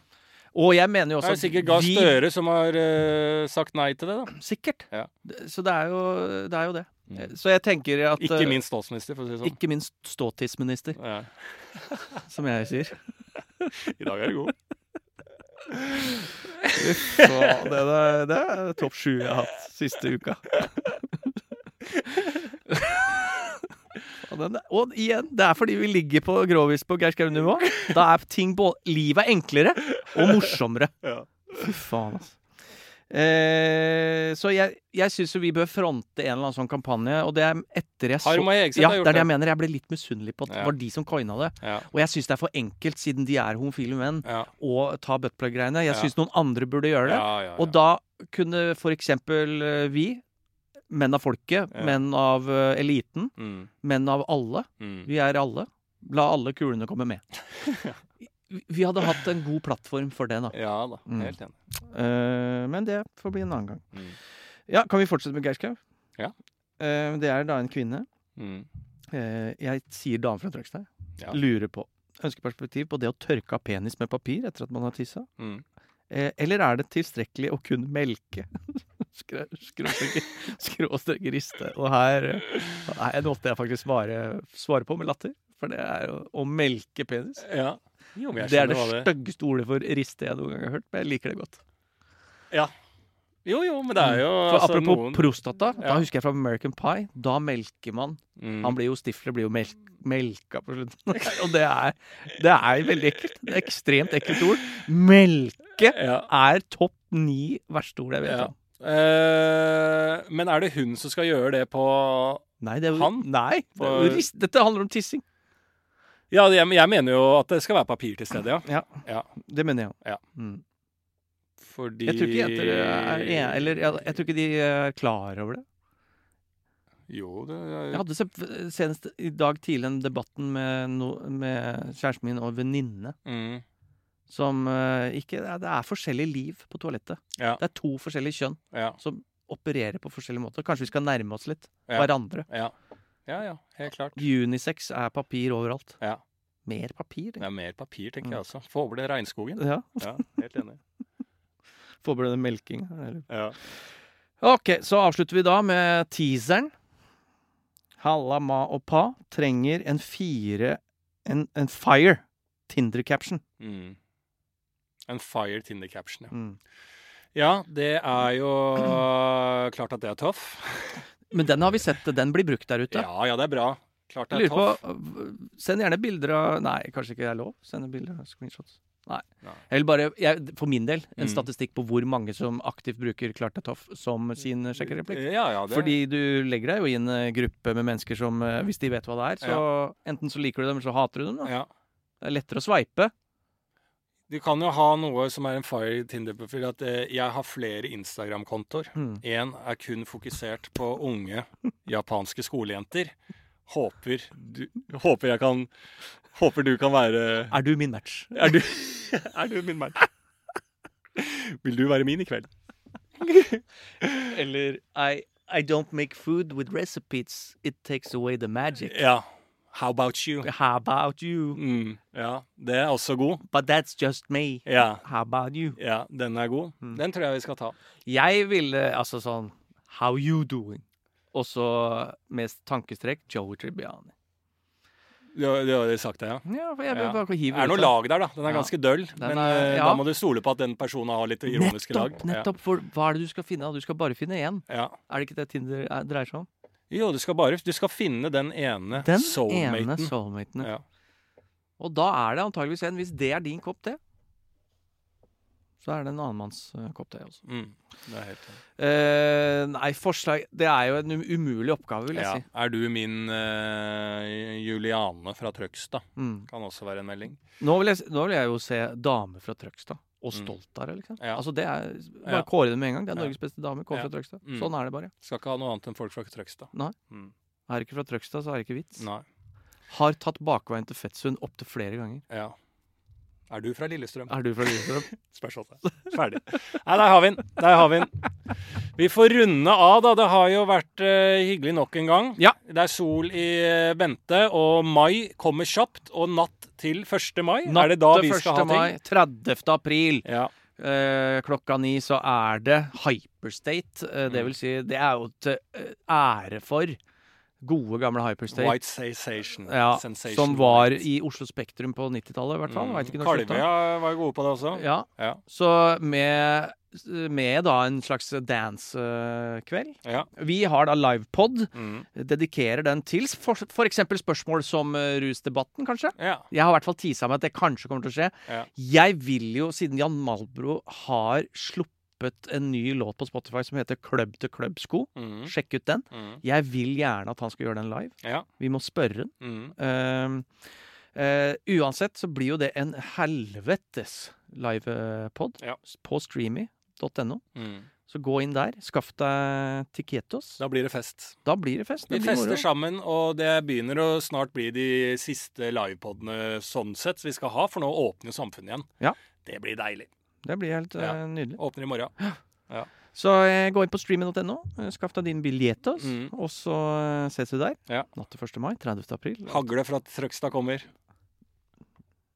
Speaker 2: Og jeg mener jo
Speaker 1: Det
Speaker 2: også
Speaker 1: er jo sikkert Gahr
Speaker 2: Altså, vi-
Speaker 1: Støre som har eh, sagt nei til det, da.
Speaker 2: Sikkert.
Speaker 1: Ja.
Speaker 2: Det- Så det er jo det. Er jo det.
Speaker 1: Mm.
Speaker 2: Eh, Så jeg tenker at eh,
Speaker 1: Ikke minst statsminister, for å si det sånn.
Speaker 2: Ikke minst ståtidsminister, [laughs]
Speaker 1: Ja.
Speaker 2: som jeg sier.
Speaker 1: I dag er det god.
Speaker 2: Så det, er- det er topp sju jeg har hatt siste uka. Og, den, og igjen, det er fordi vi ligger på grovis på Geir Skau-nivå. Da er ting på Livet er enklere og morsommere.
Speaker 1: Ja.
Speaker 2: Fy faen, altså. Eh, så jeg, jeg syns jo vi bør fronte en eller annen sånn kampanje, og det er etter jeg så
Speaker 1: Harm og Hegseth
Speaker 2: Ja,
Speaker 1: har
Speaker 2: det
Speaker 1: gjort
Speaker 2: er det
Speaker 1: det.
Speaker 2: jeg mener. Jeg ble litt misunnelig på at det
Speaker 1: Ja.
Speaker 2: var de som coina det.
Speaker 1: Ja.
Speaker 2: Og jeg syns det er for enkelt, siden de er homofile menn,
Speaker 1: Ja.
Speaker 2: å ta buttplug-greiene. Jeg
Speaker 1: Ja.
Speaker 2: syns noen andre burde gjøre det.
Speaker 1: Ja, ja, ja.
Speaker 2: Og da kunne for eksempel eh, vi, menn av folket,
Speaker 1: Ja.
Speaker 2: menn av eh, eliten,
Speaker 1: mm,
Speaker 2: menn av alle,
Speaker 1: mm.
Speaker 2: vi er alle, la alle kulene
Speaker 1: [laughs]
Speaker 2: komme med. Vi- Vi hadde hatt en god plattform for det, da.
Speaker 1: ja da,
Speaker 2: Mm.
Speaker 1: helt enig.
Speaker 2: Eh, men det får bli en annen gang.
Speaker 1: Mm.
Speaker 2: Ja, kan vi fortsette med Geir Skau?
Speaker 1: Ja.
Speaker 2: Eh, det er da en kvinne.
Speaker 1: Mm.
Speaker 2: Eh, jeg sier dame fra Trøgstad.
Speaker 1: Ja.
Speaker 2: Lurer på. Ønsker perspektiv på det å tørke av penis med papir etter at man har tissa.
Speaker 1: Mm.
Speaker 2: Eh, eller er det tilstrekkelig å kun melke? [laughs] Skra- skråstrek skråstrek riste. Og her eh, Nei, nå måtte jeg faktisk svare, svare på med latter. For det er å, å melke penis.
Speaker 1: Ja. Jo, men jeg
Speaker 2: Det er
Speaker 1: skjønner
Speaker 2: det
Speaker 1: hva det
Speaker 2: styggeste ordet for riste jeg noen gang har hørt, men jeg liker det godt.
Speaker 1: Jo, jo, men det er jo
Speaker 2: For
Speaker 1: altså,
Speaker 2: apropos
Speaker 1: noen
Speaker 2: prostata, da
Speaker 1: Ja.
Speaker 2: husker jeg fra American Pie. Da melker man.
Speaker 1: mm.
Speaker 2: Han blir jo Stifler blir jo melk, melka på slutten. [laughs] Og det er, det er veldig ekkelt. Det er ekstremt ekkelt ord. Melke
Speaker 1: ja.
Speaker 2: er topp ni verste ord jeg vet
Speaker 1: Ja.
Speaker 2: om.
Speaker 1: Eh, men er det hun som skal gjøre det på
Speaker 2: Nei, det er, jo-
Speaker 1: Han?
Speaker 2: Nei, det er,
Speaker 1: For-
Speaker 2: jo rist- dette handler om tissing.
Speaker 1: Ja, jeg, jeg mener jo at det skal være papir til stede, ja.
Speaker 2: Ja,
Speaker 1: Ja.
Speaker 2: det mener jeg òg.
Speaker 1: Ja.
Speaker 2: Mm.
Speaker 1: Fordi
Speaker 2: Jeg tror ikke jenter eh, er er- Eller jeg, jeg tror ikke de er klar over det.
Speaker 1: Jo, det
Speaker 2: Jeg hadde se- senest i dag tidlig en debatten med, no, med kjæresten min og en venninne
Speaker 1: mm.
Speaker 2: som eh, ikke Det er- det er forskjellig liv på toalettet.
Speaker 1: Ja.
Speaker 2: Det er to forskjellige kjønn.
Speaker 1: Ja.
Speaker 2: operere på forskjellige måter. Kanskje vi skal nærme oss litt
Speaker 1: Ja.
Speaker 2: hverandre.
Speaker 1: Ja. ja, ja. Helt klart.
Speaker 2: Unisex er papir overalt.
Speaker 1: Ja.
Speaker 2: Mer papir.
Speaker 1: Det er mer papir, tenker
Speaker 2: Mm.
Speaker 1: jeg også. Få over det
Speaker 2: [laughs]
Speaker 1: regnskogen.
Speaker 2: Ja.
Speaker 1: Ja, helt enig.
Speaker 2: Få på denne melkinga. eller-
Speaker 1: Ja.
Speaker 2: Ok, så avslutter vi da med teaseren. Halla, ma og pa trenger en fire En, en fire Tinder-caption.
Speaker 1: Mm. En fire Tinder caption, ja.
Speaker 2: Mm.
Speaker 1: Ja, det er jo klart at det er tøff.
Speaker 2: Men den har vi sett, den blir brukt der ute.
Speaker 1: Ja, ja, det er bra. Klart det
Speaker 2: Jeg
Speaker 1: er
Speaker 2: lurer
Speaker 1: tøff.
Speaker 2: på øh, Send gjerne bilder av Nei, kanskje ikke det er lov? Sende bilder av screenshots. Nei.
Speaker 1: Nei.
Speaker 2: Jeg vil bare, jeg, for min del, en
Speaker 1: Mm.
Speaker 2: statistikk på hvor mange som aktivt bruker Klart det er toff som sin eh, sjekkereplikk.
Speaker 1: Ja, ja, det
Speaker 2: Fordi du legger deg jo i en eh, gruppe med mennesker som eh, Hvis de vet hva det er, så enten så liker du dem, eller så hater du dem. Da.
Speaker 1: ja.
Speaker 2: Det er lettere å sveipe.
Speaker 1: Du kan jo ha noe som er en fire Tinder-profil, at eh, jeg har flere Instagram-kontoer.
Speaker 2: Mm.
Speaker 1: Én er kun fokusert på unge japanske skolejenter. Håper du, håper jeg kan Håper du kan være
Speaker 2: Er du min match?
Speaker 1: Er du, er du min mann? Vil du være min i kveld?
Speaker 2: Eller I, I don't make food with recipes. It takes away the magic.
Speaker 1: Ja. How about you?
Speaker 2: How about you?
Speaker 1: Mm, ja, det er også god.
Speaker 2: But that's just me.
Speaker 1: Ja,
Speaker 2: How about you?
Speaker 1: ja, den er god. Den tror jeg vi skal ta.
Speaker 2: Jeg ville altså sånn How you doing? Og så mest tankestrek Joey Tribbiani.
Speaker 1: Du, har- du har sagt det, ja?
Speaker 2: Ja, for jeg vil
Speaker 1: Ja.
Speaker 2: bare
Speaker 1: Det
Speaker 2: hive sånn.
Speaker 1: er noe
Speaker 2: av-
Speaker 1: lag der, da. Den er
Speaker 2: Ja.
Speaker 1: ganske døll. Men
Speaker 2: er-
Speaker 1: eh,
Speaker 2: ja.
Speaker 1: da må du stole på at den personen har litt ironiske lag.
Speaker 2: Nettopp, nettopp, for hva er det du skal finne? av? Du skal bare finne én.
Speaker 1: Ja. Ja.
Speaker 2: Er det ikke det Tinder er- dreier seg om?
Speaker 1: Jo, du skal bare Du skal finne den ene
Speaker 2: Den ene
Speaker 1: soulmaten.
Speaker 2: soulmaten.
Speaker 1: Ja.
Speaker 2: Og da er det antageligvis en, hvis det er din kopp te, så er det en annen manns eh, kopp te også.
Speaker 1: Mm, det er helt enig.
Speaker 2: Eh, nei, forslag Det er jo en um- umulig oppgave, vil jeg
Speaker 1: ja.
Speaker 2: si.
Speaker 1: Er du min eh, Juliane fra Trøgstad?
Speaker 2: Mm.
Speaker 1: Kan også være en melding.
Speaker 2: Nå vil, jeg, nå vil jeg jo se dame fra Trøgstad. Og stolt av det, liksom.
Speaker 1: Mm. Ja.
Speaker 2: Altså det er,
Speaker 1: Ja.
Speaker 2: Bare kåre det med en gang. Det er
Speaker 1: Ja.
Speaker 2: Norges beste dame. Kom
Speaker 1: Ja.
Speaker 2: fra Trøgstad.
Speaker 1: Mm.
Speaker 2: Sånn er det bare.
Speaker 1: Skal ikke ha noe annet enn folk fra Trøgstad.
Speaker 2: Nei.
Speaker 1: Mm.
Speaker 2: Er det ikke fra Trøgstad, så er det ikke vits.
Speaker 1: Nei.
Speaker 2: Har tatt bakveien til Fettsund opptil flere ganger.
Speaker 1: Ja. Er du fra Lillestrøm?
Speaker 2: Er du fra Lillestrøm?
Speaker 1: Spørsmålet. Ferdig. Nei, der har vi den. Der har vi den. Vi får runde av, da. Det har jo vært eh, hyggelig nok en gang.
Speaker 2: Ja.
Speaker 1: Det er sol i eh, vente, og mai kommer kjapt. Og natt til 1. mai, er det da vi skal ha ting?
Speaker 2: 30. april
Speaker 1: Ja.
Speaker 2: eh, klokka ni så
Speaker 1: Mm.
Speaker 2: er det Hyperstate. Eh, det vil si, det er jo til eh, ære for Gode, gamle Hyperstate.
Speaker 1: White sensation.
Speaker 2: ja,
Speaker 1: sensation
Speaker 2: som var
Speaker 1: White.
Speaker 2: i Oslo Spektrum på 90-tallet, i hvert fall. Vet ikke når det slutta.
Speaker 1: Kalvøya var gode på det også.
Speaker 2: Ja.
Speaker 1: Ja.
Speaker 2: Så med, med da en slags dance-kveld.
Speaker 1: Ja.
Speaker 2: Vi har da livepod.
Speaker 1: Mm.
Speaker 2: Dedikerer den til f.eks. spørsmål som eh, rusdebatten, kanskje.
Speaker 1: ja.
Speaker 2: Jeg har i hvert fall tisa meg at det kanskje kommer til å skje.
Speaker 1: Ja.
Speaker 2: Jeg vil jo, siden Jan Malbro har sluppet en ny låt på Spotify som heter Club til Club-sko,
Speaker 1: Mm.
Speaker 2: sjekk ut den.
Speaker 1: Mm.
Speaker 2: Jeg vil gjerne at han skal gjøre den live.
Speaker 1: Ja.
Speaker 2: Vi må spørre den.
Speaker 1: Mm.
Speaker 2: Ehm, eh, uansett så blir jo det en helvetes livepod
Speaker 1: Ja.
Speaker 2: på streamy.no.
Speaker 1: Mm.
Speaker 2: Så gå inn der, skaff deg tiquetos. Da,
Speaker 1: Da blir det fest.
Speaker 2: blir det fest.
Speaker 1: Vi
Speaker 2: Det blir moro.
Speaker 1: fester sammen, og det begynner å snart bli de siste livepodene sånn sett vi skal ha, for nå åpner jo samfunnet igjen.
Speaker 2: Ja.
Speaker 1: Det blir deilig.
Speaker 2: Det blir helt eh,
Speaker 1: Ja.
Speaker 2: nydelig.
Speaker 1: Åpner i morgen.
Speaker 2: Så eh, gå inn på streamy.no, eh, skaff deg din biljettos,
Speaker 1: Mm.
Speaker 2: og så eh, ses vi der.
Speaker 1: Ja.
Speaker 2: Natt til 1. mai, 30. april.
Speaker 1: Hagle fra Trøgstad kommer.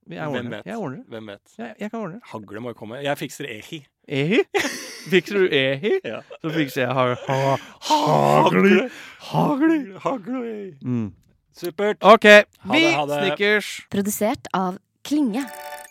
Speaker 2: Vi- Jeg
Speaker 1: Hvem
Speaker 2: ordner det.
Speaker 1: vet?
Speaker 2: Jeg ordner det.
Speaker 1: Hvem vet.
Speaker 2: Jeg, jeg kan ordne det.
Speaker 1: Hagle må jo komme. Jeg fikser ehi.
Speaker 2: Ehi? [laughs] Fikser du ehi?
Speaker 1: Ja.
Speaker 2: Så fikser jeg ha, ha, hagli. Hagli.
Speaker 1: Hagle.
Speaker 2: Mm.
Speaker 1: Supert.
Speaker 2: OK.
Speaker 1: Ha
Speaker 2: Vi
Speaker 1: det, ha det.
Speaker 2: snickers.
Speaker 3: Produsert av Klinge.